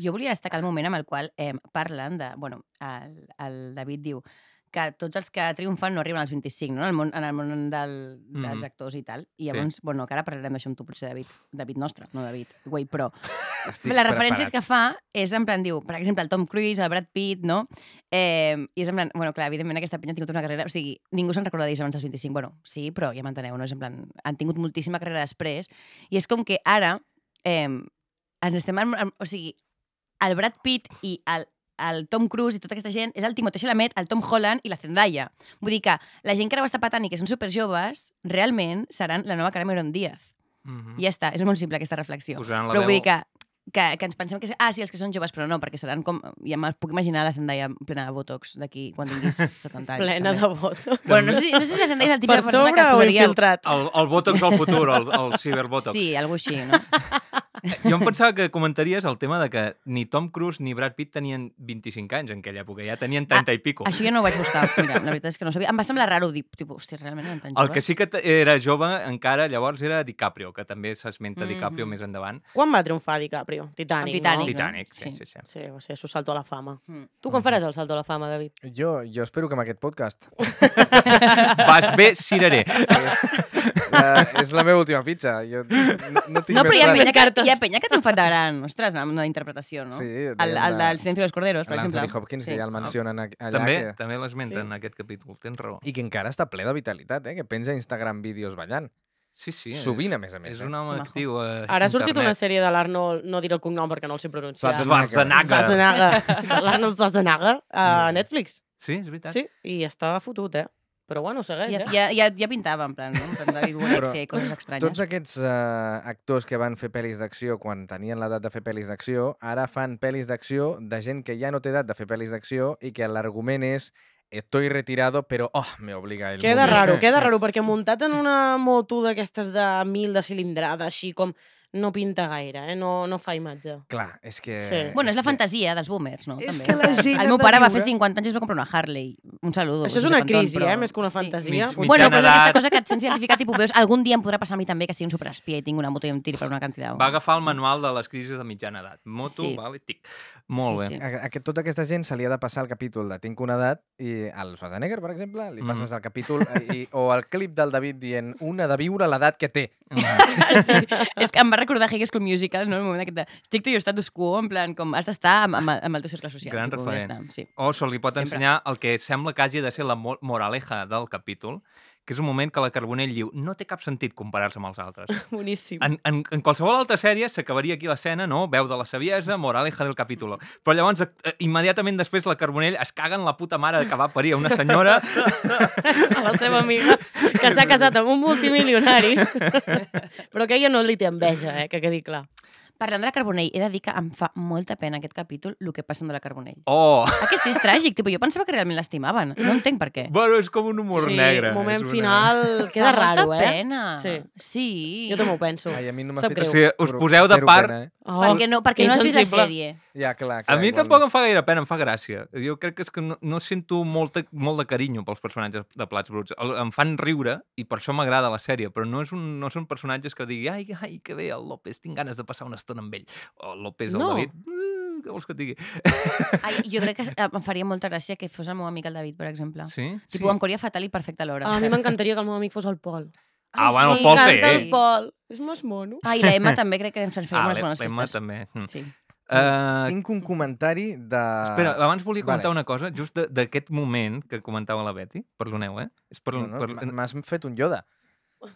Jo volia destacar el moment amb el qual eh, parlen de... Bueno, el, el David diu que tots els que triomfen no arriben als 25, no? En el món, en el món del, dels
Mhm.
actors i tal.
Sí.
I llavors, sí. bueno, que ara parlarem d'això amb tu, potser, David. David nostre, no David. Güey, però
Estic
la referència que fa és en plan, diu, per exemple, el Tom Cruise, el Brad Pitt, no? Eh, I és en plan, bueno, clar, evidentment aquesta penya ha tingut una carrera... O sigui, ningú se'n recorda d'ells abans dels 25. Bueno, sí, però ja m'enteneu, no? És en plan, han tingut moltíssima carrera després. I és com que ara eh, ens estem... En, en, o sigui, el Brad Pitt i el, el Tom Cruise i tota aquesta gent és el Timothée Chalamet, el Tom Holland i la Zendaya. Vull dir que la gent que ara ho està patant i que són superjoves, realment seran la nova Cameron Diaz.
Mhm.
Mm-hmm.
Mm.
I ja està, és molt simple aquesta reflexió.
Posaran la
Però
veu...
vull dir que que, que ens pensem que... és- Ah, sí, els que són joves, però no, perquè seran com... Ja me'ls puc imaginar la Zendaya plena de botox d'aquí quan tinguis 70 anys.
Plena
també.
de votos.
Bueno, no sé, si- no sé si la Zendaya és el
Per
tipus de persona
sobre
que
o
posaria...
infiltrat?
El, el botox al futur, el, el ciberbotox.
Sí, alguna així, no?
Jo em pensava que comentaries el tema de que ni Tom Cruise ni Brad Pitt tenien 25 anys en aquella època, ja tenien 30 i pico.
Això jo no ho vaig buscar, mira, la veritat és que no ho sabia. Em va semblar raro dir, tipus, hòstia, realment eren tan
El
joves.
que sí que t- era jove encara llavors era DiCaprio, que també s'esmenta DiCaprio
Mhm.
més endavant.
Quan va triomfar DiCaprio? Titanic,
Amb Titanic.
no?
Titanic, sí,
Sí.
sí, sí.
Sí, o sigui, és un salto a la fama.
Mm.
Tu quan faràs el salto a la fama, David?
Jo, jo espero que amb aquest podcast.
Vas bé, cireré.
La, és la meva última fitxa. Jo no, no tinc
No, però
més
hi ha,
plans.
penya que,
cartes.
hi ha penya que ha triomfat de gran, ostres, amb la interpretació, no?
Sí,
el, el del Silencio de los Corderos, per exemple.
L'Anthony Hopkins,
sí. Ah,
que ja el mencionen a- allà.
També,
Que,
també l'esmenten
Sí.
en aquest capítol, tens raó.
I que encara està ple de vitalitat, eh? Que penja a Instagram vídeos ballant.
Sí, sí.
Sovint,
és,
a més a més,
És
eh?
un home
Majo.
actiu a
Ara ha sortit una
internet.
sèrie de l'Arnold, no diré el cognom perquè no el sé pronunciar.
Schwarzenegger.
Schwarzenegger.
Schwarzenegger. L'Arnold Schwarzenegger a Netflix.
Sí, és veritat.
Sí, i està fotut, eh? Però bueno, segueix,
Ja,
eh?
ja, ja, ja pintava, en plan, no? En plan David Walexia i coses estranyes.
Tots aquests uh, actors que van fer pel·lis d'acció quan tenien l'edat de fer pel·lis d'acció, ara fan pel·lis d'acció de gent que ja no té edat de fer pel·lis d'acció i que l'argument és estoy retirado, però oh, me obliga el
Queda
mundo".
raro,
eh.
queda raro, perquè muntat en una moto d'aquestes de mil de cilindrada, així com no pinta gaire, eh? no, no fa imatge.
Clar, és que...
Sí.
Bueno, és la
que-
fantasia dels boomers, no?
És
També.
que la gent
El meu
ha de
pare va
viure-
fer 50 anys i es va comprar una Harley. Un saludo.
Això és
no sé
una
quant ton,
crisi, eh? Més que una fantasia.
Mig- mig-
Bueno, però és
Mitjana
aquesta
edat.
cosa que et sents identificat i veus, algun dia em podrà passar a mi també que sigui un superespia i tinc una moto i em tiri per una cantilada.
Va agafar el manual de les crisis de mitjana edat. Moto,
Sí.
vale, tic. Molt
Sí,
bé.
sí.
A, a, que tota aquesta gent se li ha de passar el capítol de Tinc una edat i al Schwarzenegger, per exemple, li
Mhm.
passes el capítol eh, i, o el clip del David dient una de viure l'edat que té.
sí. És que em va recordar High School Musical, no? El moment aquest de stick to your status quo, en plan, com has d'estar amb, amb, amb el teu cercle social.
Gran
tipus, ja
referent.
està, Sí.
O se Oh, li pot
Sempre.
ensenyar el que sembla que hagi de ser la mo- moraleja del capítol, que és un moment que la Carbonell diu no té cap sentit comparar-se amb els altres.
Boníssim.
En, en, en qualsevol altra sèrie s'acabaria aquí l'escena, no? Veu de la saviesa, moraleja del capítol. Però llavors, eh, immediatament després, la Carbonell es caga en la puta mare que va parir a una senyora
A la seva amiga, que s'ha casat amb un multimilionari, però que ella no li té enveja, eh? que quedi clar.
Parlant de la Carbonell, he de dir que em fa molta pena aquest capítol el que passa amb la Carbonell.
Oh!
Ah, que sí, és tràgic. Tipo, jo pensava que realment l'estimaven. No entenc per què.
Bueno, és com un humor
sí,
negre.
moment
és una-
final, queda
Fa molta
raro, eh?
pena.
Sí.
Sí.
Jo també ho penso.
Ai, a mi no m'ha
Sap
O
fet...
greu.
sigui, us
però
poseu de
zero
part...
pena, eh?
Oh,
perquè no, perquè
que
no has vist la
insensible.
sèrie.
Ja, clar, clar,
A mi
igual.
tampoc em fa gaire pena, em fa gràcia. Jo crec que és que no, no sento molt de, molt de carinyo pels personatges de Plats Bruts. El, em fan riure i per això m'agrada la sèrie, però no, és un, no són personatges que digui ai, ai, que bé, el López, tinc ganes de passar una estona amb ell. O el López, el
No.
David... "Mm, Què vols que et digui?
Ai, jo crec que eh, em faria molta gràcia que fos el meu amic el David, per exemple. Sí.
Sí?
Tipo, em cauria fatal i perfecte alhora.
A mi m'encantaria que el meu amic fos el Pol.
Ah, bueno, el
sí,
Pol eh? sí.
canta
el Pol. És més mono.
Ah, i la Emma també crec que ens faria
Ah,
unes bones
l'Emma
festes.
també. Mm.
Sí.
Eh,
Tinc un comentari de...
Espera, abans volia
vale.
comentar una cosa, just de- d'aquest moment que comentava la Betty. Perdoneu, eh? És per,
No, no,
per,
m- M'has fet un Yoda.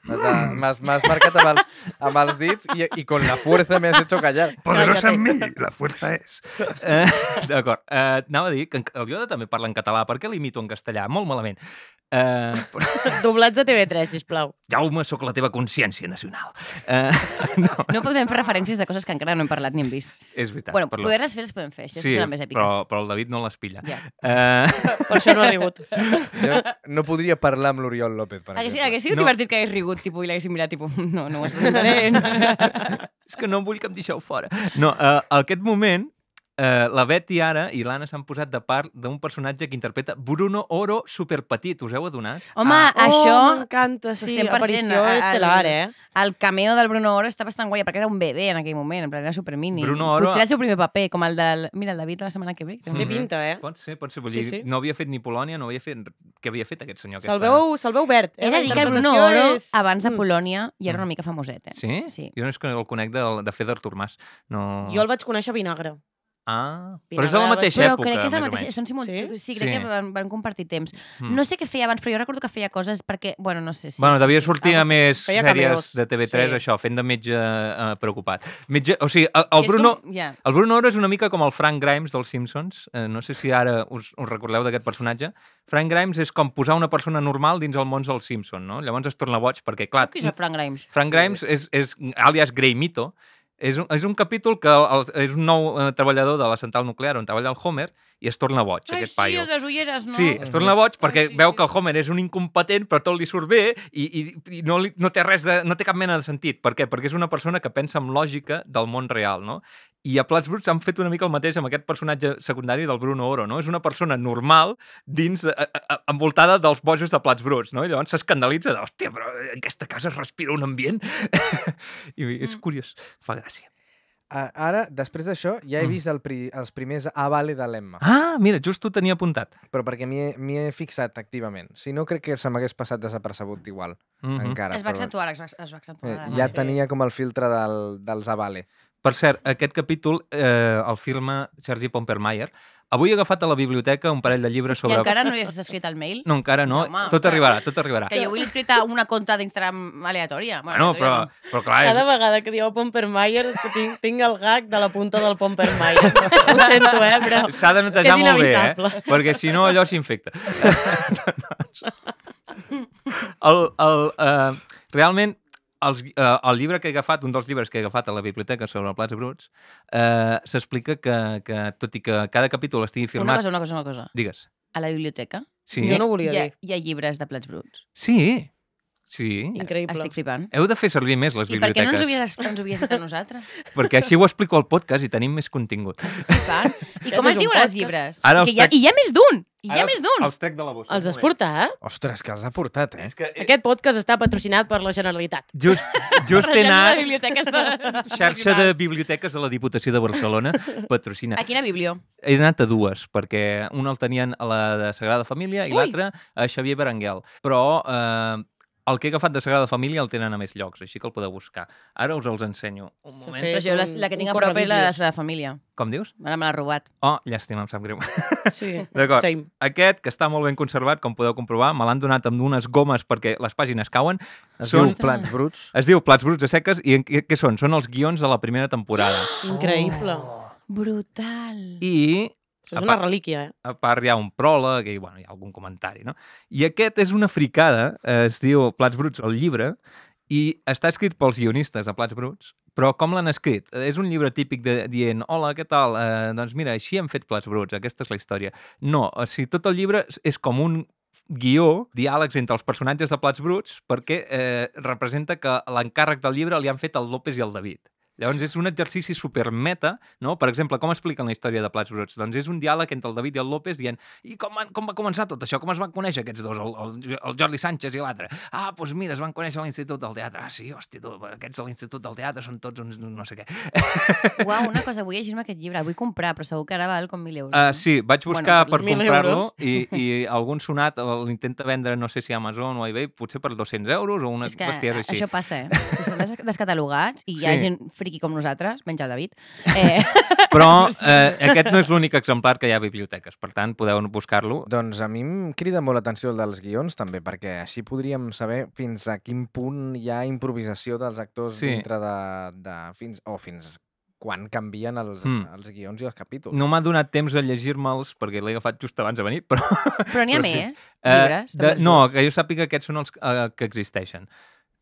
De- M'has m'has marcat amb els, amb els dits i, i con la fuerza me has hecho callar.
Poderosa en mí, la fuerza es.
Eh, D'acord. Eh, anava a dir que en- el Yoda també parla en català. Per què l'imito en castellà? Molt malament. Eh, però,
Doblats a TV3, sisplau.
Jaume, sóc la teva consciència nacional. Eh, no,
No podem fer referències de coses que encara no hem parlat ni hem vist.
és veritat.
Bueno,
perdó.
poder les fer, les podem fer. Això
Sí,
seran més èpiques.
però, però el David no les pilla.
Ja.
Eh,
Per això no ha rigut.
Jo no podria parlar amb l'Oriol López, per
Hagués,
exemple.
hagués sigut
No.
no. divertit que hagués rigut tipo, i l'haguéssim mirat, tipo, "Mm, no, no ho estàs entenent.
és que no vull que em deixeu fora. No, eh, en aquest moment, eh, la Betty ara i l'Anna s'han posat de part d'un personatge que interpreta Bruno Oro superpetit. Us heu adonat?
Home,
Ah.
ah, això,
Oh, m'encanta, sí.
100%
Aparició
al-
estel·lar, eh?
el cameo del Bruno Oro està bastant guai, perquè era un bebè en aquell moment, en plan, era supermini.
Bruno Oro-
Potser era el seu primer paper, com el del... Mira, el David la setmana que ve. que té un-
Té
Mhm.
pinta, eh?
Pot ser, pot ser. Vull
Sí,
dir,
sí.
No havia fet ni Polònia, no havia fet... Què havia fet aquest senyor?
Se'l veu, se'l veu verd. Eh?
He
La
de dir que el Bruno
interpretació
Oro,
és-
abans de
Mm.
Polònia, ja era
Mm.
una mica famoset, eh?
Sí?
Sí.
Jo no és que el conec de, de Feder Tormàs. No...
Jo el vaig conèixer a Vinagre.
Ah,
Vinagre
però és de la
de
mateixa
Però
època,
crec que és
més
la
o
mateixa...
menys.
Són simul...
Sí?
sí? sí, crec
Sí.
que van, van compartir temps.
Mm.
No sé què feia abans, però jo recordo que feia coses perquè... Bueno, no sé. Sí,
bueno,
sí,
devia
sí.
sortir
Ah,
a més
feia
sèries
cameos,
de TV3,
sí.
això, fent de metge eh, preocupat. Metge, o sigui, el, el
que és
Bruno...
Com... Ja.
El Bruno Oro és una mica com el Frank Grimes dels Simpsons. Eh, no sé si ara us, us recordeu d'aquest personatge. Frank Grimes és com posar una persona normal dins el món dels Simpsons, no? Llavors es torna boig perquè, clar,
Qui és el Frank Grimes?
Frank Grimes és, és alias Greimito, És un, és un capítol que el, el, és un nou eh, treballador de la central nuclear on treballa el Homer i es torna boig,
Ai,
aquest
sí,
paio.
el de les ulleres, no?
Sí, es torna boig perquè
sí, sí.
veu que el Homer és un incompetent, però tot li surt bé i, i, i no, li, no té res de, no té cap mena de sentit. Per què? Perquè és una persona que pensa amb lògica del món real, no? I a Platts Bruts han fet una mica el mateix amb aquest personatge secundari del Bruno Oro, no? És una persona normal dins, a, a, a- envoltada dels bojos de Plats Bruts, no? I llavors s'escandalitza de, hòstia, però en aquesta casa es respira un ambient. I
Mm.
és curiós, fa gràcia.
A- Ara, després d'això, ja he
Mm.
vist el pri els primers avale de l'Emma,
Ah, mira, just ho tenia apuntat.
però perquè m'hi he, m'hi he fixat activament. Si no, crec que se m'hagués passat desapercebut igual,
Mm
encara.
Es va
però-
accentuar, Ah, es va, es va accentuar.
Eh,
la
ja
imatge.
tenia com el filtre del, dels avale.
Per cert, aquest capítol eh, el firma Sergi Pompermayer. Avui he agafat a la biblioteca un parell de llibres
I
sobre...
encara no li has escrit el mail?
No, encara no.
Home.
tot arribarà, tot arribarà.
Que jo vull escrit a una conta d'Instagram aleatòria.
Bueno, Ah,
aleatòria
però,
no.
però clar, és...
Cada vegada que dieu Pompermayer és que tinc, tinc el gag de la punta del Pompermayer. Ho sento, eh, però...
S'ha de
que
netejar
és
molt bé, eh?
inevitable.
Perquè si no, allò s'infecta. el, el, eh, realment, els, eh, el llibre que he agafat, un dels llibres que he agafat a la biblioteca sobre plats bruts, eh, s'explica que, que, tot i que cada capítol estigui
Una
firmat...
cosa, una cosa, una cosa.
Digues.
A la biblioteca
Sí.
Jo no ho volia
hi ha,
dir.
hi ha llibres de plats bruts.
Sí. Sí.
Increïble.
Estic flipant.
Heu de fer servir més les
I per què
biblioteques.
no ens ho havies, no ens ho havies dit a nosaltres?
Perquè així ho explico al podcast i tenim més contingut.
Flipant. I com
és
es
un
diuen els
podcast.
llibres?
Ara
I,
els
hi ha,
trec-
I hi ha més d'un! I hi
Ara
ha més d'un!
Els trec de la bossa.
Els
un
has
moment.
portat?
Ostres, que els ha portat, eh?
És que, eh,
Aquest podcast està patrocinat per la Generalitat.
just, just he
Regent
anat...
de biblioteques de...
Xarxa de biblioteques de la Diputació de Barcelona patrocina.
A quina biblio?
He anat a dues, perquè una el tenien a la de Sagrada Família i
Ui!
l'altra a Xavier Berenguel. Però eh, el que he agafat de Sagrada Família el tenen a més llocs, així que el podeu buscar. Ara us els ensenyo. Un
S'ha
moment.
fet
Però jo la,
un-
la que tinc
un
a prop és la de la
correvidrios.
Sagrada Família.
Com dius?
Ara me l'ha robat.
Oh, llàstima, em sap greu.
Sí,
D'acord.
same.
Aquest, que està molt ben conservat, com podeu comprovar, me l'han donat amb unes gomes perquè les pàgines cauen.
Es
Són-
diu plats bruts.
Es diu Plats bruts a seques i en, què, què són? Són els guions de la primera temporada.
Increïble.
Oh.
Brutal.
I
Això és una relíquia, eh?
a part hi ha un pròleg i bueno, hi ha algun comentari, no? I aquest és una fricada, eh, es diu Plats bruts al llibre, i està escrit pels guionistes de Plats bruts, però com l'han escrit? Eh, És un llibre típic de, dient, hola, què tal? Eh, doncs mira, així hem fet Plats bruts, aquesta és la història. No, o sigui, tot el llibre és- és com un guió, diàlegs entre els personatges de Plats bruts, perquè eh, representa que l'encàrrec del llibre li han fet el López i el David. Llavors és un exercici supermeta, no? Per exemple, com expliquen la història de Plats Bruts? Doncs és un diàleg entre el David i el López dient i com, van, com va començar tot això? Com es van conèixer aquests dos, el, el, el Jordi Sánchez i l'altre? Ah, doncs mira, es van conèixer a l'Institut del Teatre. Ah, sí, hòstia, tu, aquests de l'Institut del Teatre són tots uns no sé què.
Uau, una cosa, vull llegir-me aquest llibre. El vull comprar, però segur que ara val com 1.000 euros.
Uh, sí, vaig
Bueno,
buscar
per
per
1.000
comprar-lo i, i algun sonat l'intenta vendre, no sé si a Amazon o a eBay, potser per 200 euros o una
és que
bestiesa així.
això passa, eh? Si estan des descatalogats i hi
Sí.
ha gent friqui com nosaltres, menys el David, eh,
Però eh, aquest no és l'únic exemplar que hi ha a biblioteques, per tant, podeu buscar-lo.
Doncs a mi em crida molt l'atenció el dels guions, també, perquè així podríem saber fins a quin punt hi ha improvisació dels actors
Sí.
sí. dintre de... de fins, o fins quan canvien els,
Mm.
mm. els guions i els capítols.
No m'ha donat temps a llegir-me'ls perquè l'he agafat just abans de venir, però...
però n'hi ha
Però sí.
més
eh,
llibres.
de,
també.
no, que jo sàpiga aquests són els eh, que existeixen.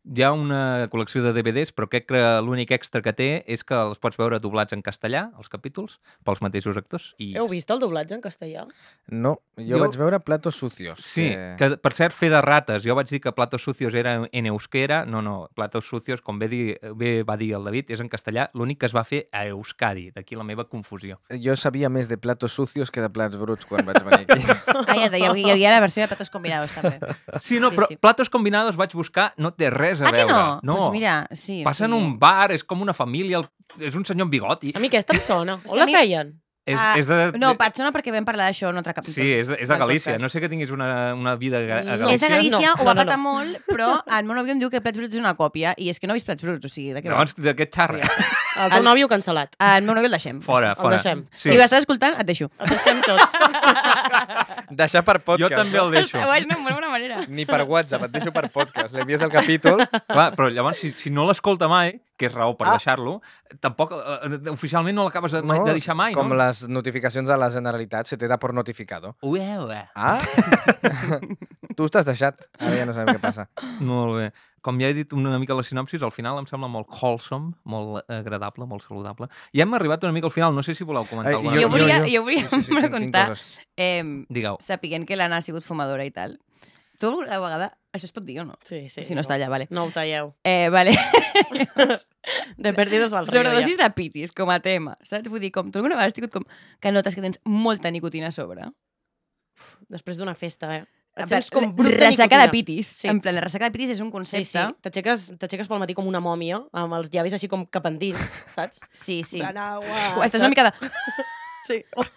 Hi ha una col·lecció de DVDs, però crec que l'únic extra que té és que els pots veure doblats en castellà, els capítols, pels mateixos actors. I
Heu vist el doblatge en castellà?
No, jo,
Jo-
jo vaig veure Platos Sucios.
Sí, que per cert, fer de rates. Jo vaig dir que Platos Sucios era en euskera. No, no, Platos Sucios, com bé, dir, bé va dir el David, és en castellà. L'únic que es va fer a Euskadi, d'aquí la meva confusió.
Jo sabia més de Platos Sucios que de Plats Bruts quan vaig venir aquí.
Ah, ja, hi, havia, hi havia la versió de platos combinados, també.
Sí, no,
Sí,
però
sí.
Platos Combinados vaig buscar, no té res a
Ah, que
veure.
no? Pues mira, sí. o
Passen
sigui,
un bar, és com una família, el- és un senyor amb bigoti.
A mi aquesta em sona.
que
On la
a mi-
feien?
És,
Ah,
és de,
No, Patsona, perquè vam parlar d'això en un altre capítol.
Sí, és, de- és de
del
Galícia.
podcast.
No sé que tinguis una, una vida a, Ga- a
No.
Galícia.
Mm, És a Galícia,
No,
ho va
no, no,
patar
no.
molt, però el meu nòvio em diu que Plats Bruts és una còpia, i és que no he vist Plats Bruts, o sigui, de què
Llavors, d'aquest xarra.
El teu
El-
nòvio cancel·lat.
va? El meu nòvio el deixem.
Fora,
El
fora.
deixem.
Sí. Si ho estàs escoltant, et deixo.
El deixem tots.
Deixar per
jo també el deixo.
Ho vaig anar molt bona manera.
Ni per WhatsApp, et deixo per podcast. L'envies el capítol.
Clar, però llavors, si, si no l'escolta mai, que és raó per
Ah.
deixar-lo, tampoc, eh, eh, oficialment no l'acabes de, mai,
No,
de deixar mai,
Com
no?
les notificacions de la Generalitat, se te da por notificado.
Ué, ué.
Ah? tu t'has deixat. Ara ja no sabem què passa.
Molt bé. Com ja he dit una mica a la sinopsis, al final em sembla molt wholesome, molt agradable, molt saludable. I hem arribat una mica al final, no sé si voleu comentar
Ai,
alguna cosa.
Jo, jo volia, jo,
Eh, jo.
volia preguntar,
coses.
eh,
Digueu.
sapiguent que l'Anna ha sigut fumadora i tal, tu alguna vegada... Això es pot dir o no?
Sí, sí.
si no, està allà, vale.
No ho talleu.
Eh, vale.
De perdidos al río.
Sobredosis de pitis, com a tema, saps? Vull dir, com, tu alguna vegada has tingut com que notes que tens molta nicotina a sobre.
Ja. Després d'una festa, eh?
En
Et sents
plan,
com brut de
Ressaca
nicotina.
de pitis.
Sí.
Sí. En plan, la ressaca de pitis és un
Sí, sí.
concepte...
T'aixeques t'aixeques pel matí com una mòmia, amb els llavis així com cap endins, saps?
Sí, sí. sí.
En plan, agua,
Estàs una mica de...
Sí.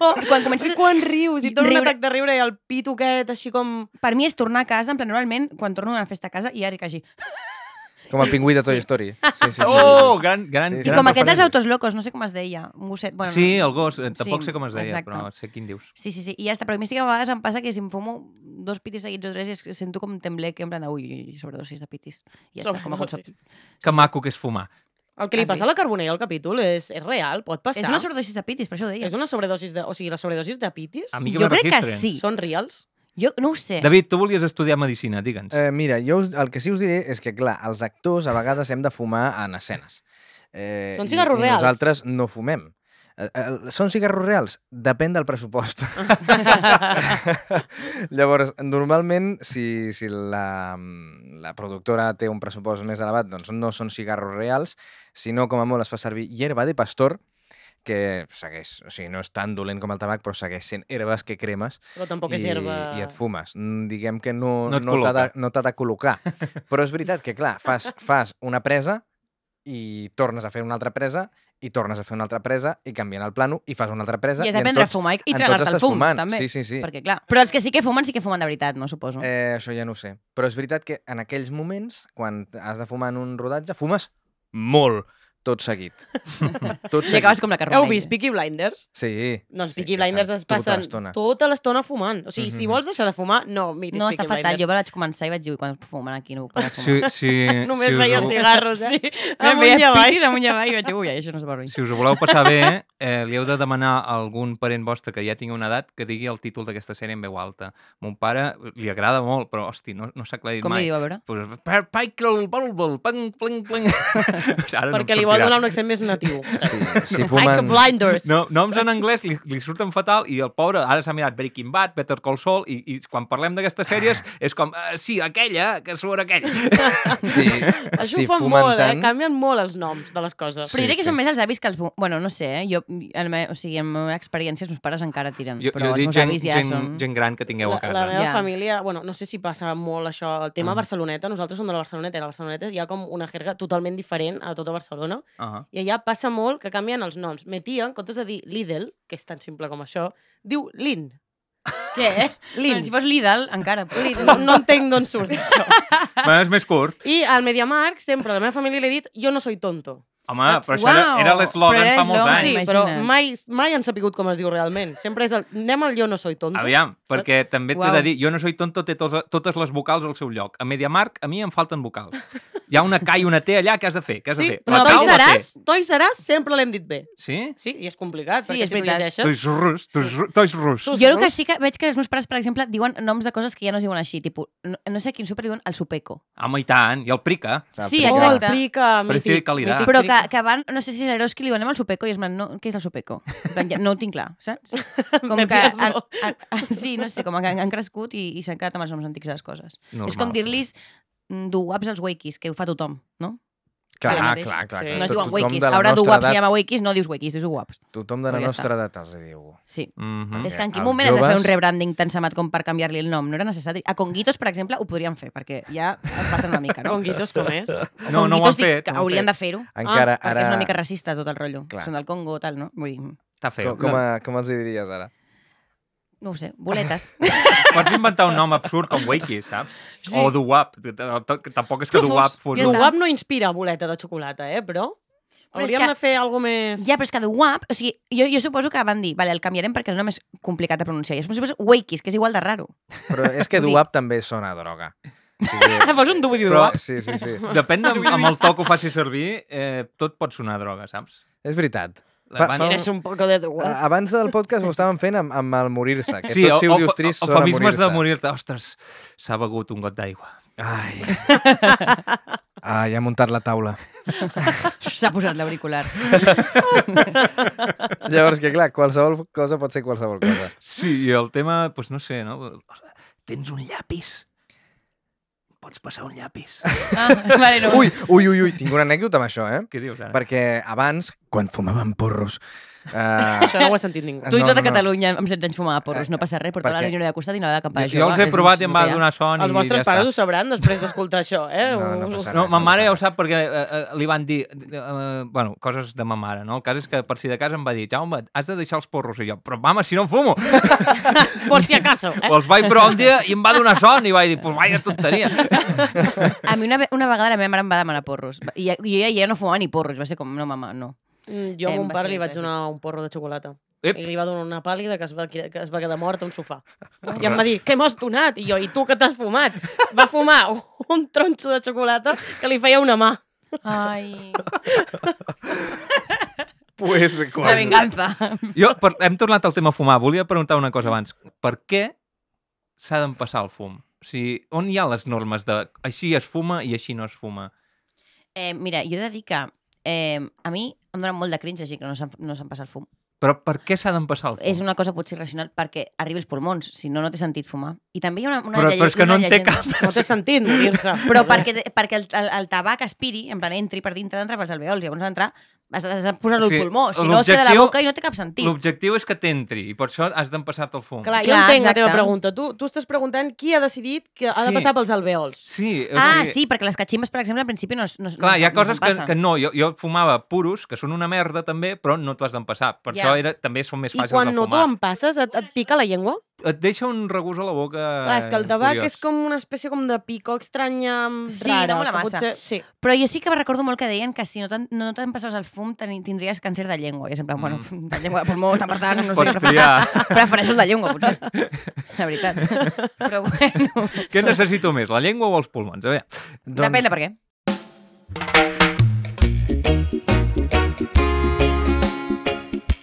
Oh,
Quan comences...
quan rius i torna
Riure.
un atac de riure i el pit aquest així com...
Per mi és tornar a casa, en plan, normalment, quan torno d'una festa a casa, hi ha ric així.
Com el pingüí de Toy Story. Sí, sí, sí.
Oh, gran, gran,
Sí, sí.
I
gran
com aquest dels
referència.
autos locos, no sé com es deia, un gosset... Bueno,
Sí,
no.
el gos, eh, tampoc
Sí,
sé com es deia,
exacte.
però sé quin dius.
Sí, sí, sí, i ja està. Però a mi sí que a vegades em passa que si em fumo dos pitis seguits o tres, és que sento com temblec, en plan, de, ui, ui, ui, sobredosis de pitis. I ja està, com a concepte.
Sobredosis.
Que maco que és fumar.
El que li
Has
passa a la Carbonell al capítol és, és real, pot passar.
És una sobredosis de pitis, per això ho deia.
És una sobredosis de... O sigui, les sobredosis de pitis
A mi que
Jo
me
crec que
registren.
sí.
són reals.
Jo no ho sé.
David, tu volies estudiar medicina,
Doncs.
digue'ns.
Eh, mira, jo us, el que sí us diré és que, clar, els actors a vegades hem de fumar en escenes. Eh,
Són
i-
cigarros
i,
reals.
nosaltres no fumem. Eh, eh, Són cigarros reals? Depèn del pressupost. Llavors, normalment, si, si la, la productora té un pressupost més elevat, doncs no són cigarros reals, sinó, com a molt, es fa servir hierba de pastor, que segueix, o sigui, no és tan dolent com el tabac, però segueix sent herbes que cremes
Però tampoc és herba...
i et fumes. Mm, Diguem que no,
No et
no t'ha de,
col·loca.
no t'ha de col·locar. Però és veritat que, clar, fas, fas una presa i tornes a fer una altra presa i tornes a fer una altra presa i canvien el plano i fas una altra presa
I és
en
aprendre a
tots-
fumar i, i
en tots
tragar-te el
estàs
fum,
fumant.
també.
Sí, sí, sí.
Perquè, clar, però els que sí que fumen, sí que fumen de veritat, no, suposo. Eh,
Eh, això ja no ho sé. Però és veritat que en aquells moments, quan has de fumar en un rodatge, fumes molt tot seguit. tot
I acabes com la
Heu
carbonella.
vist Peaky Blinders?
Sí.
Doncs
Sí,
Peaky
que
Blinders
estan
es
tota
passen
l'estona.
tota l'estona fumant. O sigui, si
Mhm.
vols deixar de fumar, no miris
No,
Peaky
està fatal. Jo
Blinders.
vaig començar i vaig dir, "Ui, quan fumen aquí no ho podrà fumar.
Si, si,
Només
si, us
veia
ho,
cigarros, eh? Amunt
Amunt
i avall.
amunt i avall, i vaig dir, ui, això no es va bé.
si us ho voleu passar bé, eh, li heu de demanar a algun parent vostre que ja tingui una edat que digui el títol d'aquesta sèrie en veu alta. Mon pare li agrada molt, però, hosti, no, no s'ha aclarit
Com li
mai.
diu, a veure?
Pues, per Pikel, bol, bol, pling, pling, pling. Ara no em
Perquè li vol
sortirà.
donar un accent més natiu.
Sí, si
Like
fumen...
Blinders.
No, noms en anglès li, li surten fatal i el pobre ara s'ha mirat Breaking Bad, Better Call Saul i, i quan parlem d'aquestes sèries és com, "Ah, sí, aquella, que surt aquell.
Sí,
Això
si
ho fan
fumen
molt,
tant,
eh? Canvien molt els noms de les coses.
Però
Sí,
jo crec que
sí.
són més els avis que els... bu- Bueno, no sé, eh? Jo, en me, o sigui, en la meva experiència, els meus pares encara tiren,
Jo,
però
jo
els
dic
meus
gent,
avis ja
gent,
són...
gent gran que tingueu
la,
a casa.
la meva
Ja.
família, bueno, no sé si passa molt això, el tema
Ah.
Barceloneta, nosaltres som de la Barceloneta, i la Barceloneta hi ha com una jerga totalment diferent a tota Barcelona,
Ah.
i allà passa molt que canvien els noms. Me tia, en comptes de dir Lidl, que és tan simple com això, diu Lin.
Què?
Lin.
Si fos Lidl, encara. però-
Lin. No, no entenc d'on surt això.
Bueno, és més curt.
I al Mediamarkt sempre a la meva família li he dit jo no soy tonto.
Home,
Saps?
però això era,
Uau,
era
però
l'eslògan
era
fa molts
l'eslògan,
anys.
sí,
imagina't.
però mai, mai han sapigut com es diu realment. Sempre és el... Anem al jo no soy tonto.
Aviam,
Saps?
perquè també t'he
Uau.
de dir, jo no soy tonto, té tos, totes les vocals al seu lloc. A Mediamarkt, a mi em falten vocals. Hi ha una K i una T allà que has de fer. Que has
Sí,
de fer.
però
La
Toi
K o la T?
Seràs, Toi Seràs sempre l'hem dit bé.
Sí?
Sí, i és complicat, sí,
Sí,
perquè
és
si tu
veritat.
Tu
llegeixes...
és rus, tu és rus. Tu és rus.
Tu-
Jo el que sí que veig que els meus pares, per exemple, diuen noms de coses que ja no es diuen així, tipus, no, no sé a quin súper diuen el supeco.
Home, i tant, i el prica.
Sí,
Aplica.
Oh, el
exacte.
plica,
Precio i
mític,
qualitat.
mític
Però que,
plica.
que van, no sé si és Eroski, li diuen anem al supeco i es van, no, què és el supeco? En plan, ja, no ho tinc clar, saps? Com
Me
que han,
pierdo.
han, han, sí, no sé, com que han, han crescut i, i s'han quedat amb els noms antics de les coses.
Normal.
És com dir-los duaps als wakis, que ho fa tothom, no?
Clar,
Sí,
clar,
mateix.
clar, clar.
Sí.
No es
Tot-
diuen
tothom
wakis.
de la
Ara
nostra
duaps
edat-
si llama wakis, no dius wakis, dius guaps.
Tothom de la
Però ja
nostra edat els hi diu.
Sí.
Mhm.
És que en quin
els
moment joves... has de fer
joves-
un rebranding tan samat com per canviar-li el nom? No era necessari. A Conguitos, per exemple, ho podrien fer, perquè ja es passen una mica, no?
Conguitos com és?
A
No, no ho han
Conguitos dic
fet.
que
no ho han
Haurien
fet.
de fer-ho.
Encara,
Perquè
ara...
és una mica racista tot el rotllo.
Clar.
Són del Congo, tal, no? Vull dir,
Està feu.
Com, com, a, com els hi diries ara?
no ho sé, boletes.
Pots inventar un nom absurd com Wakey, saps? Sí. O Duwap. Tampoc és que
Rufus,
Duwap fos...
ja
El
està.
guap no inspira boleta de xocolata, eh, però...
Però és
Hauríem
que-
de fer alguna més...
ja, però és que de WAP, o sigui, jo, jo suposo que van dir, vale, el canviarem perquè el nom és complicat de pronunciar. I després suposo Wakis, que és igual de raro.
Però és que
Vull dir-
duap també sona a droga.
Vols un dubi
Però-
dubi?
Sí, sí, sí.
Depèn de, amb el to que ho faci servir, eh, tot pot sonar a droga, saps?
És veritat.
La
Fa,
van-
fa un...
Eres un poco de tu.
a- Abans del podcast ho estàvem fent amb, amb el morir-se.
Eh,
Que tot si ho dius trist sona a
eufemismes de
morir-se.
morir-te. Ostres, s'ha begut un got d'aigua.
Ai. Ai, ha muntat la taula.
S'ha posat l'auricular.
Llavors, que clar, qualsevol cosa pot ser qualsevol cosa.
Sí, i el tema, doncs no sé, no? Tens un llapis? Pots passar un llapis?
Ah, vale, no.
Ui, ui, ui, ui, tinc una anècdota amb això, eh?
Què dius ara?
Perquè abans, quan fumaven porros... Eh,
Això no ho ha sentit ningú.
Tu i
No,
tota
no, no.
Catalunya amb 16 anys fumava porros, no passa res, portar la
Perquè-
reunió de costat i anar a la campada
Ah, jo, jo els he provat i em va donar son
Els
i
vostres
ja
pares
està.
ho sabran després d'escoltar això, eh?
No, no
Us-
passa
No,
res,
ma
no
mare
passa
ja ho
res.
sap perquè eh, eh, li van dir... Eh, eh, bueno, coses de ma mare, no? El cas és que per si de casa em va dir Jaume, has de deixar els porros. I jo, però mama, si no em fumo!
Por si acaso, eh?
o els vaig provar un dia i em va donar son i vaig dir, pues vaya tonteria.
A mi una, ve- una vegada la meva mare em va demanar porros. I, i ella ja no fumava ni porros, va ser com, no, mama, no.
Mm, Jo
Em
a mon
va
pare
ser
li vaig
impressiu.
donar un porro de xocolata.
Ep.
Ep. I li va donar una pàl·lida que es va, que es va quedar mort a un sofà. I em va dir, què m'has donat? I jo, i tu que t'has fumat? Va fumar un tronxo de xocolata que li feia una mà.
Ai,
pues,
la
quan...
venganza.
Jo, per, hem tornat al tema fumar. Volia preguntar una cosa abans. Per què s'ha d'empassar el fum? O sigui, on hi ha les normes de així es fuma i així no es fuma?
Eh, mira, jo he de dir que eh, a mi em dona molt de cringe així que no se'm, no se'm passa el fum.
Però per què s'ha d'empassar el fum?
És una cosa potser irracional perquè arribi als pulmons, si no, no té sentit fumar. I també hi ha una, una
Però-
llege-
però és que
una
no en té
llegenda.
No té sentit morir-se.
Però perquè, perquè el, el, el tabac aspiri, en plan, entri per dintre, entra pels alveols, llavors entrar, has, has de posar-lo
O sigui,
al pulmó, si no es queda a la
l'objectiu-
boca i no té cap sentit.
L'objectiu és que t'entri i per això has d'empassar el fum.
Clar, jo
Clar,
entenc la
exacte.
teva pregunta. Tu, tu estàs preguntant qui ha decidit que ha
Sí.
de passar pels alveols.
Sí, o
Ah,
sigui,
sí, perquè les catximes, per exemple, al principi no, es- no, es-
Clar,
no,
hi ha
es-
coses
no
que,
se'n
que
passen.
no. Jo, jo fumava puros, que són una merda també, però no t'ho has d'empassar. Per
Ja.
això era, també són més
I
fàcils
quan
de
no t'ho
fumar.
empasses, et, et pica la llengua?
Et deixa un regús a la boca
Clar, és que el tabac
curiós.
és com una espècie com de picor estranya,
Sí,
rara.
no mola
que
massa.
Potser... Sí.
Però jo sí que recordo molt que deien que si no te'n no te'n passaves el fum teni- tindries càncer de llengua. I és en plan, bueno, de llengua de pulmó, tant per tant, no
Mm. Pots
sé,
triar.
prefereixo, prefereixo el de llengua, potser. La veritat. Però bueno,
Què necessito més, la llengua o els pulmons? A veure,
doncs... depèn de per què.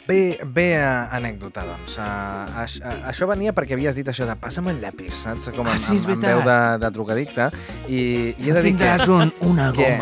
Bé, bé uh, anècdota, doncs. Uh, aix, uh, això venia perquè havies dit això de passa'm el llapis, saps? Com
Ah,
amb,
sí, és
amb, amb
veritat.
veu de, de trucadicte. I, i he de dir que...
un, una
que-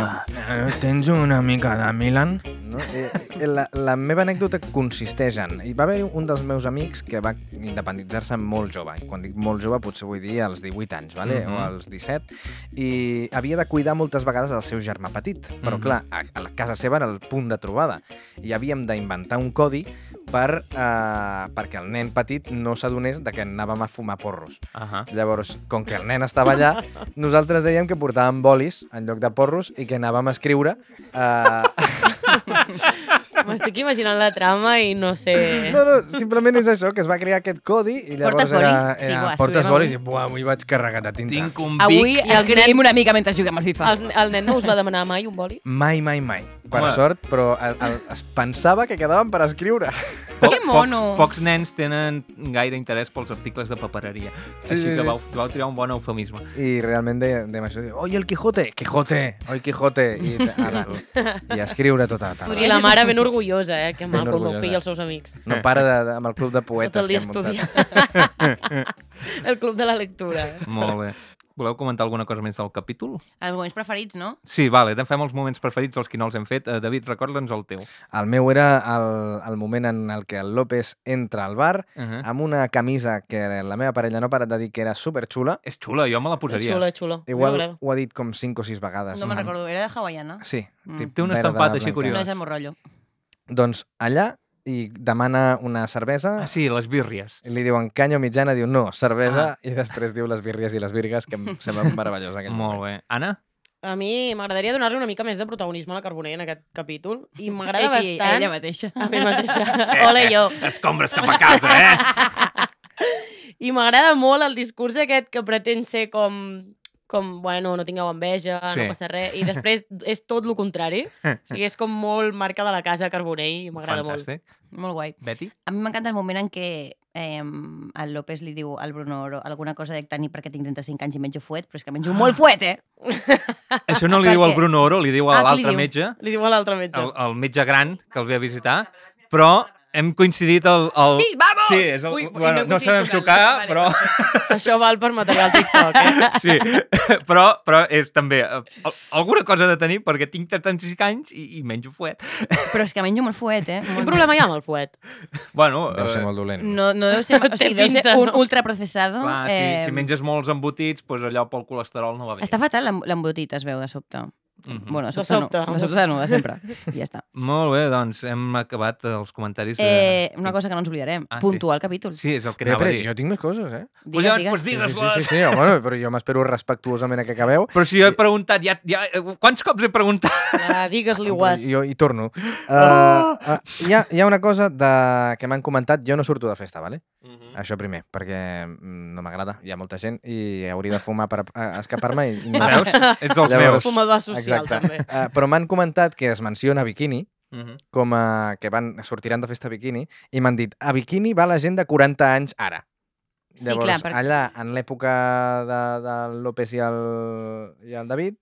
Eh, Tens una mica de Milan? No? Eh, eh, la, la meva anècdota consisteix en... Hi va haver un dels meus amics que va independitzar-se molt jove. I quan dic molt jove potser vull dir als 18 anys, vale?
Mhm.
o als 17. I havia de cuidar moltes vegades el seu germà petit. Però
Mhm.
clar, a, a la casa seva era el punt de trobada. I havíem d'inventar un codi per, eh, perquè el nen petit no s'adonés de que anàvem a fumar porros.
Ahà.
Llavors, com que el nen estava allà, nosaltres dèiem que portàvem bolis en lloc de porros i que anàvem a escriure... Eh...
M'estic imaginant la trama i no sé...
No, no, simplement és això, que es va crear aquest codi i llavors
Portes
era...
bolis? Sí, ho
era
escriurem
portes
avui.
bolis i buah, avui vaig carregat de tinta.
Tinc un pic.
Avui
els
escrivim
nens-
una mica mentre juguem al FIFA.
El, el nen no us va demanar mai un boli?
Mai, mai, mai. Per
Home.
sort, però el, el, es pensava que quedaven per escriure.
Po-
Que mono.
Pocs, pocs nens tenen gaire interès pels articles de papereria.
Sí,
Sí, Així
sí,
que
sí.
vau, vau triar un bon eufemisme.
I realment dèiem, dèiem això, oi, el Quijote, Quijote, oi, Quijote, i, ara, i a escriure tota la
I
tarda.
la mare ben orgullosa, eh, que
Ben
maco el meu
orgullosa.
fill i els seus amics.
No para de, de, amb el club de poetes
Tot el dia
que hem muntat.
estudiant. el club de la lectura. eh?
Molt bé. Voleu comentar alguna cosa més del capítol?
Els moments preferits, no?
Sí, vale, de- fem els moments preferits, els que no els hem fet. Eh, David, recorda'ns el teu.
El meu era el, el moment en el que el López entra al bar
Uh -huh.
amb una camisa que la meva parella no ha parat de dir que era superxula.
És xula, jo me la posaria.
Xulo, xulo.
Igual ho ha dit com 5 o 6 vegades.
No me'n recordo, era de hawaiana.
Sí.
Mm.
tip
Té un
verda,
estampat així
blanca.
curiós.
No és el meu rotllo.
Doncs allà i demana una cervesa,
Ah, sí, les bírries.
i li diuen canya mitjana, diu no,
Ah.
cervesa, i després diu les birries i les virgues, que em sembla meravellós aquell
Molt bé. Anna?
A mi m'agradaria donar-li una mica més de protagonisme a la Carboner en aquest capítol i m'agrada
Eti,
bastant...
Ella mateixa.
A mi mateixa. Ole, jo.
Escombres cap a casa, eh?
I m'agrada molt el discurs aquest que pretén ser com com, bueno, no tingueu enveja,
Sí.
no passa res, i després és tot el contrari. O sigui, és com molt marca de la casa Carbonell i m'agrada molt.
Fantàstic.
Molt guai.
Betty?
A mi m'encanta el moment en què eh, el López li diu al Bruno Oro alguna cosa de tani perquè tinc 35 anys i menjo fuet, però és que menjo molt fuet, eh?
Això no li
Per
diu al
què?
Bruno Oro, li diu a
Ah, què li
l'altre
diu?
metge,
Li diu a l'altre metge.
el, el metge gran que el ve a visitar, però hem coincidit el... el...
Sí, vamos!
Sí, és el...
Ui, ui, no
bueno,
he
no sabem
coincidit
xocar,
xocant.
però...
Vale,
Això val per material TikTok, eh?
Sí, però, però és també eh, al- alguna cosa de tenir perquè tinc 35 anys i, i menjo fuet.
Però és que menjo molt fuet, eh?
Quin
Molt...
problema hi ha amb el fuet?
Bueno,
Deu ser
eh,
molt dolent.
No, no deu ser... O sigui, deu ser
pinta,
un
no?
ultraprocessado.
clar, si, si menges molts embotits, doncs allò pel colesterol no va bé.
Està fatal l'em- l'embotit, es veu, de sobte.
Mhm.
Bueno, de
De
sobte,
sobte.
no. De sobte no, de sempre. I ja està.
Molt bé, doncs hem acabat els comentaris. de-
Eh, una cosa que no ens oblidarem.
Ah, sí.
Puntuar el capítol.
Sí, és el que
Però,
anava a
però,
dir.
jo tinc més coses, eh?
Digues,
Collons, doncs
digues.
Sí,
digues-les!
sí, sí, sí, sí. Oh, bueno, però jo m'espero respectuosament a que acabeu.
Però si jo he preguntat, ja, ja, eh, quants cops he preguntat?
Ah, Digues-li guas.
Jo hi torno. Uh,
Ah!
uh, hi, ha, hi ha una cosa de... que m'han comentat. Jo no surto de festa, vale?
Mm. Ah,
Això primer, perquè mm, no m'agrada. Hi ha molta gent i hauria de fumar per a- escapar-me. i- i no.
Veus? Ets dels meus.
Llavors-
Fumador social,
Exacte.
també.
Uh, però m'han comentat que es menciona bikini,
Mhm.
com a que van, sortiran de festa bikini, i m'han dit, a bikini va la gent de 40 anys ara.
Sí,
Llavors,
clar, perquè-
allà, en l'època de, de López i el, i el David,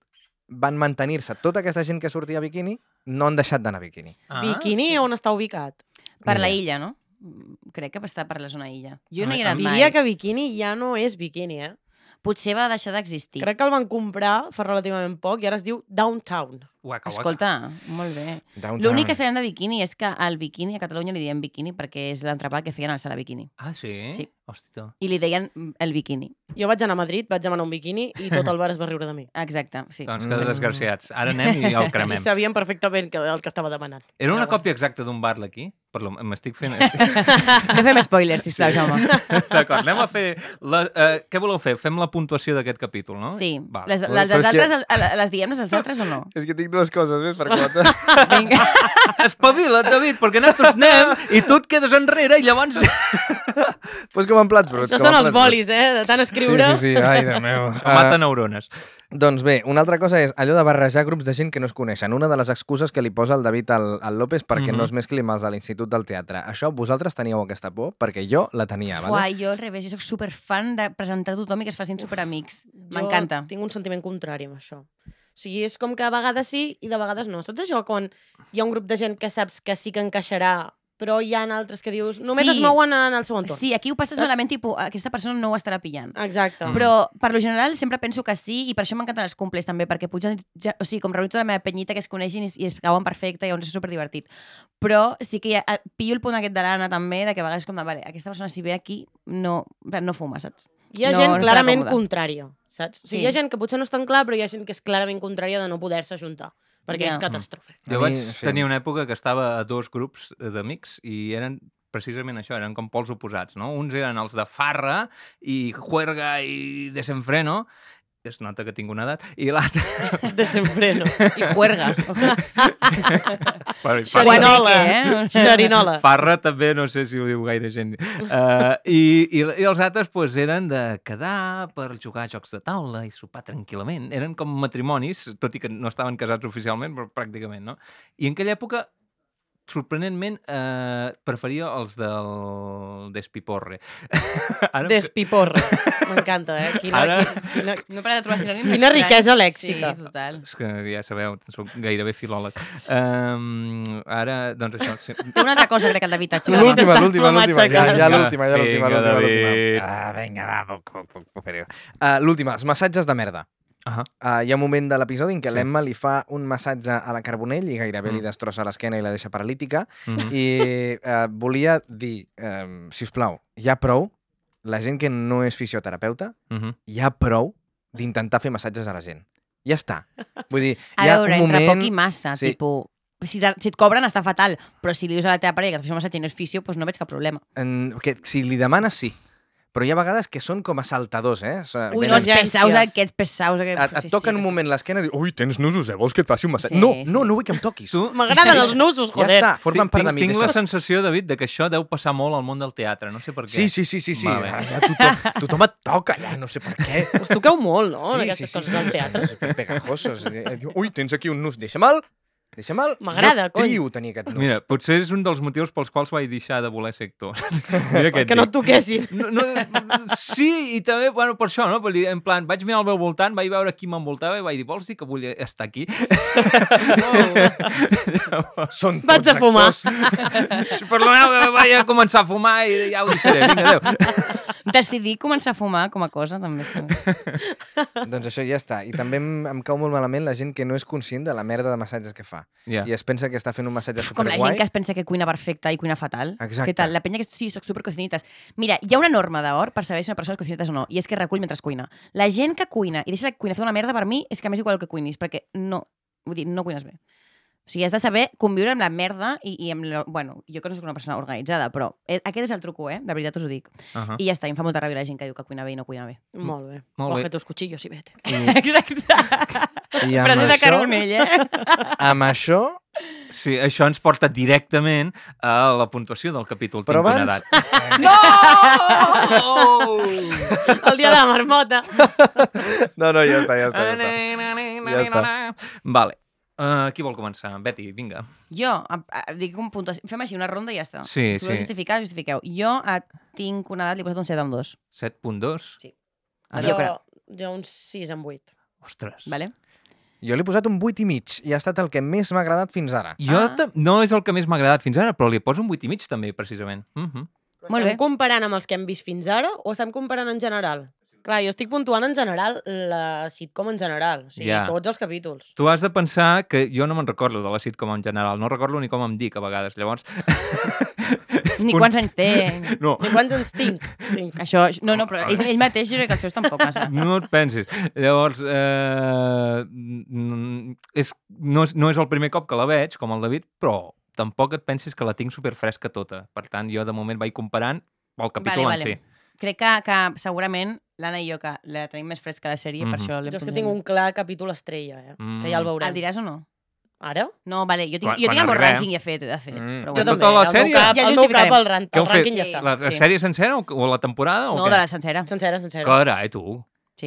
van mantenir-se. Tota aquesta gent que sortia a bikini no han deixat d'anar a bikini.
Ah,
Bikini, on està ubicat?
Per la
Mira.
illa, no? Mm, Crec que està per la zona illa.
A
Jo no
mi-
hi he anat mai.
Diria que bikini ja no és bikini, eh?
Potser va deixar d'existir.
Crec que el van comprar fa relativament poc i ara es diu Downtown.
Uaca, uaca.
Escolta, molt bé.
Downtown.
L'únic que sabem de biquini és que al biquini a Catalunya li diem biquini perquè és l'entrepà que feien al sala biquini.
Ah, sí?
Sí.
Hòstia.
I li deien mm, el biquini.
Jo vaig anar a Madrid, vaig demanar un bikini i tot el bar es va riure de mi.
Exacte, sí.
Doncs
Mm.
que desgraciats. Ara anem i el
I
cremem.
sabien perfectament que el que estava demanant.
Era una
Però
còpia exacta d'un Bartle aquí? Per lo... M'estic fent...
No fem spoilers, sisplau, Jaume.
D'acord, anem a fer... La, eh, què voleu fer? Fem la puntuació d'aquest capítol, no?
Sí.
Vale.
Les,
Però-
les,
però és
les
que-
altres, el- les diem les dels altres o no?
És que tinc dues coses més per comentar.
Vinga.
Espavila't, David, perquè nosaltres anem i tu et quedes enrere i llavors...
pues com en plats bruts.
Això
com en
són els
plats bruts.
bolis, eh? De tant escriure.
Sí, sí, sí. Ai, Déu meu. Eh,
Uh... Mata neurones.
Doncs bé, una altra cosa és allò de barrejar grups de gent que no es coneixen. Una de les excuses que li posa el David al, al López perquè
Mhm.
mm -hmm. no es mescli amb els de l'Institut del Teatre. Això, vosaltres teníeu aquesta por? Perquè jo la tenia,
Fuà,
vale?
jo al revés, jo soc superfan de presentar a tothom i que es facin superamics.
Jo
M'encanta.
Tinc un sentiment contrari amb això. O sigui, és com que a vegades sí i de vegades no. Saps això quan hi ha un grup de gent que saps que sí que encaixarà, però hi ha altres que dius només
Sí.
es mouen en el seu entorn.
Sí, aquí ho passes
Saps?
malament, tipus, "Ah, aquesta persona no ho estarà pillant.
Exacte.
Mm.
Però, per lo general, sempre penso que sí, i per això m'encanten els comples, també, perquè puja, ja, o sigui, com reunir tota la meva penyita que es coneixin i, i es cauen perfecte, i llavors és superdivertit. Però sí que ja, eh, pillo el punt aquest de l'Anna, també, de que a vegades com de, vale, aquesta persona si ve aquí, no, en plan, no fuma, saps?
Hi ha
No,
gent
no estarà
clarament
còmoda.
contrària, saps? O sigui,
Sí.
hi ha gent que potser no és tan clar, però hi ha gent que és clarament contrària de no poder-se ajuntar, perquè
Ja.
és catàstrofe.
A
Jo
mi,
vaig
sí.
tenir una època que estava a dos grups eh, d'amics i eren precisament això, eren com pols oposats, no? Uns eren els de farra i juerga i desenfreno, es nota que tinc una edat, i l'altre...
Desenfreno.
I juerga.
Bueno, i farra-
Xerinola.
Guateque, eh?
Xerinola.
Farra també, no sé si ho diu gaire gent. Uh, i, i, I els altres pues, eren de quedar per jugar a jocs de taula i sopar tranquil·lament. Eren com matrimonis, tot i que no estaven casats oficialment, però pràcticament, no? I en aquella època, sorprenentment, eh, preferia els del Despiporre. Ara,
Despiporra. M'encanta, eh? Quina,
Ara-
quina,
No para de trobar sinònims.
Quina
estranys.
riquesa lèxica.
Sí, total.
És que ja sabeu, soc gairebé filòleg. Um, ara, doncs això... Sí.
Té una altra cosa, crec, que el David Tachó.
L'últim. L'última, l'última, l'última, ja- ja
Vinga, l'última, ja l'última, vinga, l'última, l'última. David.
Ah, vinga, va, puc, puc, puc, puc fer-ho. Uh, L'última, els massatges de merda.
Ah,
Uh, hi ha un moment de l'episodi en què
Sí.
sí. l'Emma li fa un massatge a la Carbonell i
Mm.
gairebé mm. li destrossa l'esquena i la deixa paralítica.
mm
Mm-hmm.
-hmm.
I eh, volia dir, eh, si us plau, hi ha prou, la gent que no és fisioterapeuta,
Mm -hmm.
hi ha prou d'intentar fer massatges a la gent. Ja està. Vull dir,
A
hi ha un
veure, entre
moment...
poc i massa,
Sí.
sí. tipus... Si, te, si et cobren està fatal, però si li dius a la teva parella que et faci un massatge i no és fisio, doncs no veig cap problema.
en... que, si li demanes, sí. Però hi ha vegades que són com a saltadors, eh? O sigui,
Ui,
venen-
no, els
Venències.
pesaus aquests, pesaus aquests...
et, et toquen un moment l'esquena i diuen ui, tens nusos, eh? Vols que et faci un massatge?
Sí,
no,
sí.
no, no vull que em toquis.
Tu,
M'agraden els nusos,
Ja
joder.
està, formen
Tinc-
part de
tinc-
mi.
Tinc la
deixa'ls.
sensació, David, de que això deu passar molt al món del teatre, no sé per què.
Sí, sí, sí, sí. sí.
Vale.
Ara Ja tothom, tothom et toca, ja, no sé per què.
Us Oh, toqueu molt, no? Sí, aquestes sí, sí, coses del teatre.
Pegajosos. Eh, diu, Ui, tens aquí un nus, deixa'm-el. Deixa'm el...
M'agrada,
jo
cony.
trio tenir aquest nus.
Mira, potser és un dels motius pels quals vaig deixar de voler ser actor. Mira què et
Que no
dic.
et toquessin.
No, no, sí, i també, bueno, per això, no? Per dir, En plan, vaig mirar al meu voltant, vaig veure qui m'envoltava i vaig dir, vols dir que vull estar aquí?
Són
Vaig
tots
a fumar.
actors.
Perdoneu, eh, vaig a començar a fumar i ja ho deixaré. Vinga, adéu.
Decidir començar a fumar com a cosa també està bé.
doncs això ja està. I també em, em cau molt malament la gent que no és conscient de la merda de massatges que fa.
Ja.
I es pensa que està fent un massatge
Com la
superguai.
gent que es pensa que cuina perfecta i cuina fatal.
Exacte.
Què tal? La penya que sí, soc supercocinitas. Mira, hi ha una norma d'or per saber si una persona és cocinitas o no, i és que recull mentre es cuina. La gent que cuina i deixa la cuina fer una merda, per mi, és que més igual el que cuinis, perquè no, vull dir, no cuines bé. O sigui, has de saber conviure amb la merda i, i amb... La, bueno, jo que no soc una persona organitzada, però eh, aquest és el truco, eh? De veritat us ho dic.
Uh
Ah.
-huh.
I ja està, i em fa molta ràbia la gent que diu que cuina bé i no cuina bé.
Molt bé.
Mm. Molt bé.
Coge tus cuchillos i vete.
Exacte.
I amb
Frase de
això,
Carbonell, eh?
amb això,
Sí, això ens porta directament a la puntuació del capítol.
Però
Tinc una edat.
abans-
eh? El dia de la marmota.
No, no, ja està, ja està. Ja està. Ja
Vale. Uh, qui vol començar? Betty, vinga.
Jo, a, a, dic un puntuació. Fem així una ronda i ja està.
Sí,
si voleu
sí.
justificar, justifiqueu. Jo a, tinc una edat, li he posat un 7 amb 2.
7.2.
Sí.
Ah,
Jo,
jo crec.
jo un 6 amb 8.
Ostres.
Vale?
Jo li he posat un 8 i mig i ha estat el que més m'ha agradat fins ara.
Jo
Ah.
ah. no és el que més m'ha agradat fins ara, però li poso un 8 i mig també, precisament. Uh -huh.
Molt bé.
Estem comparant amb els que hem vist fins ara o estem comparant en general? Clar, jo estic puntuant en general la sitcom en general, o sigui,
Ja.
yeah. tots els capítols.
Tu has de pensar que jo no me'n recordo de la sitcom en general, no recordo ni com em dic a vegades, llavors...
Ni
Un-
quants anys té.
No,
I quants ens tinc? tinc.
Això, no, no, però ell, ell mateix jo crec que els seus tampoc massa.
no et pensis. Llavors, eh, mm, és, no, és, no és el primer cop que la veig, com el David, però tampoc et pensis que la tinc superfresca tota. Per tant, jo de moment vaig comparant el capítol
Vale,
en
vale.
si.
Crec que, que segurament l'Anna i jo, que la tenim més fresca a la sèrie, per
Mhm.
això l'hem
Jo és que
posat.
tinc un clar capítol estrella, eh? Mm. Que ja el
Mm.
veurem.
El diràs o no?
Ara?
No, vale, jo tinc,
Quan-
jo
quan
tinc el meu
arribem.
rànquing ja fet, de fet.
Mm.
Però
Jo
bueno.
tota
també,
la
el meu
sèrie?
cap-
Ja
El meu cap,
justificarem.
el, ran,
Què heu
el rànquing
fet?
ja està.
La, la
Sí.
sèrie sencera o, o la temporada? o
No,
què?
de la sencera.
Sencera, sencera.
Carai, tu.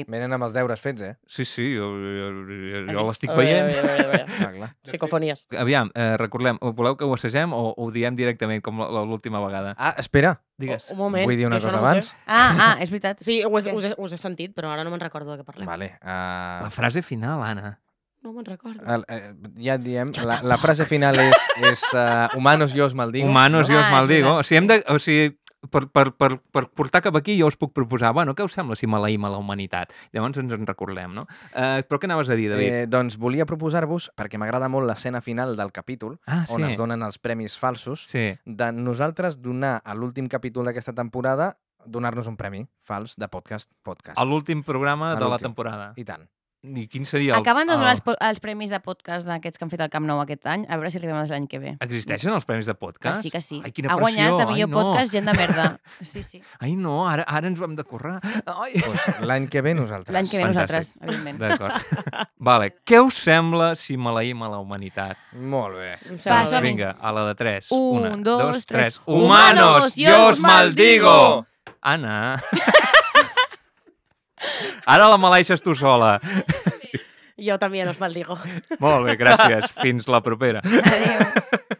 Venen amb els deures fets, eh?
Sí, sí, jo, jo, jo, jo
vist?
l'estic
A veure, a
veient.
veure, a veure, a veure.
Ah, clar.
Psicofonies.
Aviam, eh, recordem, ho voleu que ho assagem o ho diem directament, com la- la- l'última vegada?
Ah, espera,
Digues.
Oh,
Un moment.
vull dir una
jo això
cosa
no ho sé.
abans.
Ah, ah, és veritat.
Sí, ho he, us, he, us he sentit, però ara no me'n recordo de què parlem.
Vale.
La
Uh,
frase final, Anna.
No me'n recordo.
el, eh, ja et diem, la, la frase final és, és uh, humanos yo os maldigo.
Humanos, jo
Ah,
us
és
maldigo.
veritat.
O sigui, hem de, o sigui per, per, per, per portar cap aquí jo us puc proposar, bueno, què us sembla si maleïm a la humanitat? Llavors ens en recordem, no? Eh, però què anaves a dir, David?
Eh, doncs volia proposar-vos, perquè m'agrada molt l'escena final del capítol,
ah,
on es donen els premis falsos,
Sí.
de nosaltres donar a l'últim capítol d'aquesta temporada donar-nos un premi fals de podcast podcast.
A l'últim programa
A
de la
l'últim.
temporada.
I tant.
I quin seria el... ah.
Acaben de donar
el...
els, po- els premis de podcast d'aquests que han fet al Camp Nou aquest any, a veure si arribem als l'any que ve.
Existeixen els premis de
Que
podcast?
sí, que sí.
Ai, quina
ha guanyat
pressió.
de millor
Ai, no.
podcast gent de merda. Sí, sí.
Ai, no, ara, ara ens ho hem de currar. Ai.
Pues, Doncs L'any que ve nosaltres.
L'any que ve
Fantàstic.
nosaltres, evidentment.
D'acord. vale, què us sembla si maleïm a la humanitat?
Molt bé.
Em sembla
Doncs
Vas,
bé.
Passa.
vinga, a la de 3.
Un,
1,
dos,
2, 3.
tres. Humanos, yo os maldigo!
Anna. Ara la maleixes tu sola.
Jo també no es maldigo.
Molt bé, gràcies. Fins la propera.
Adéu.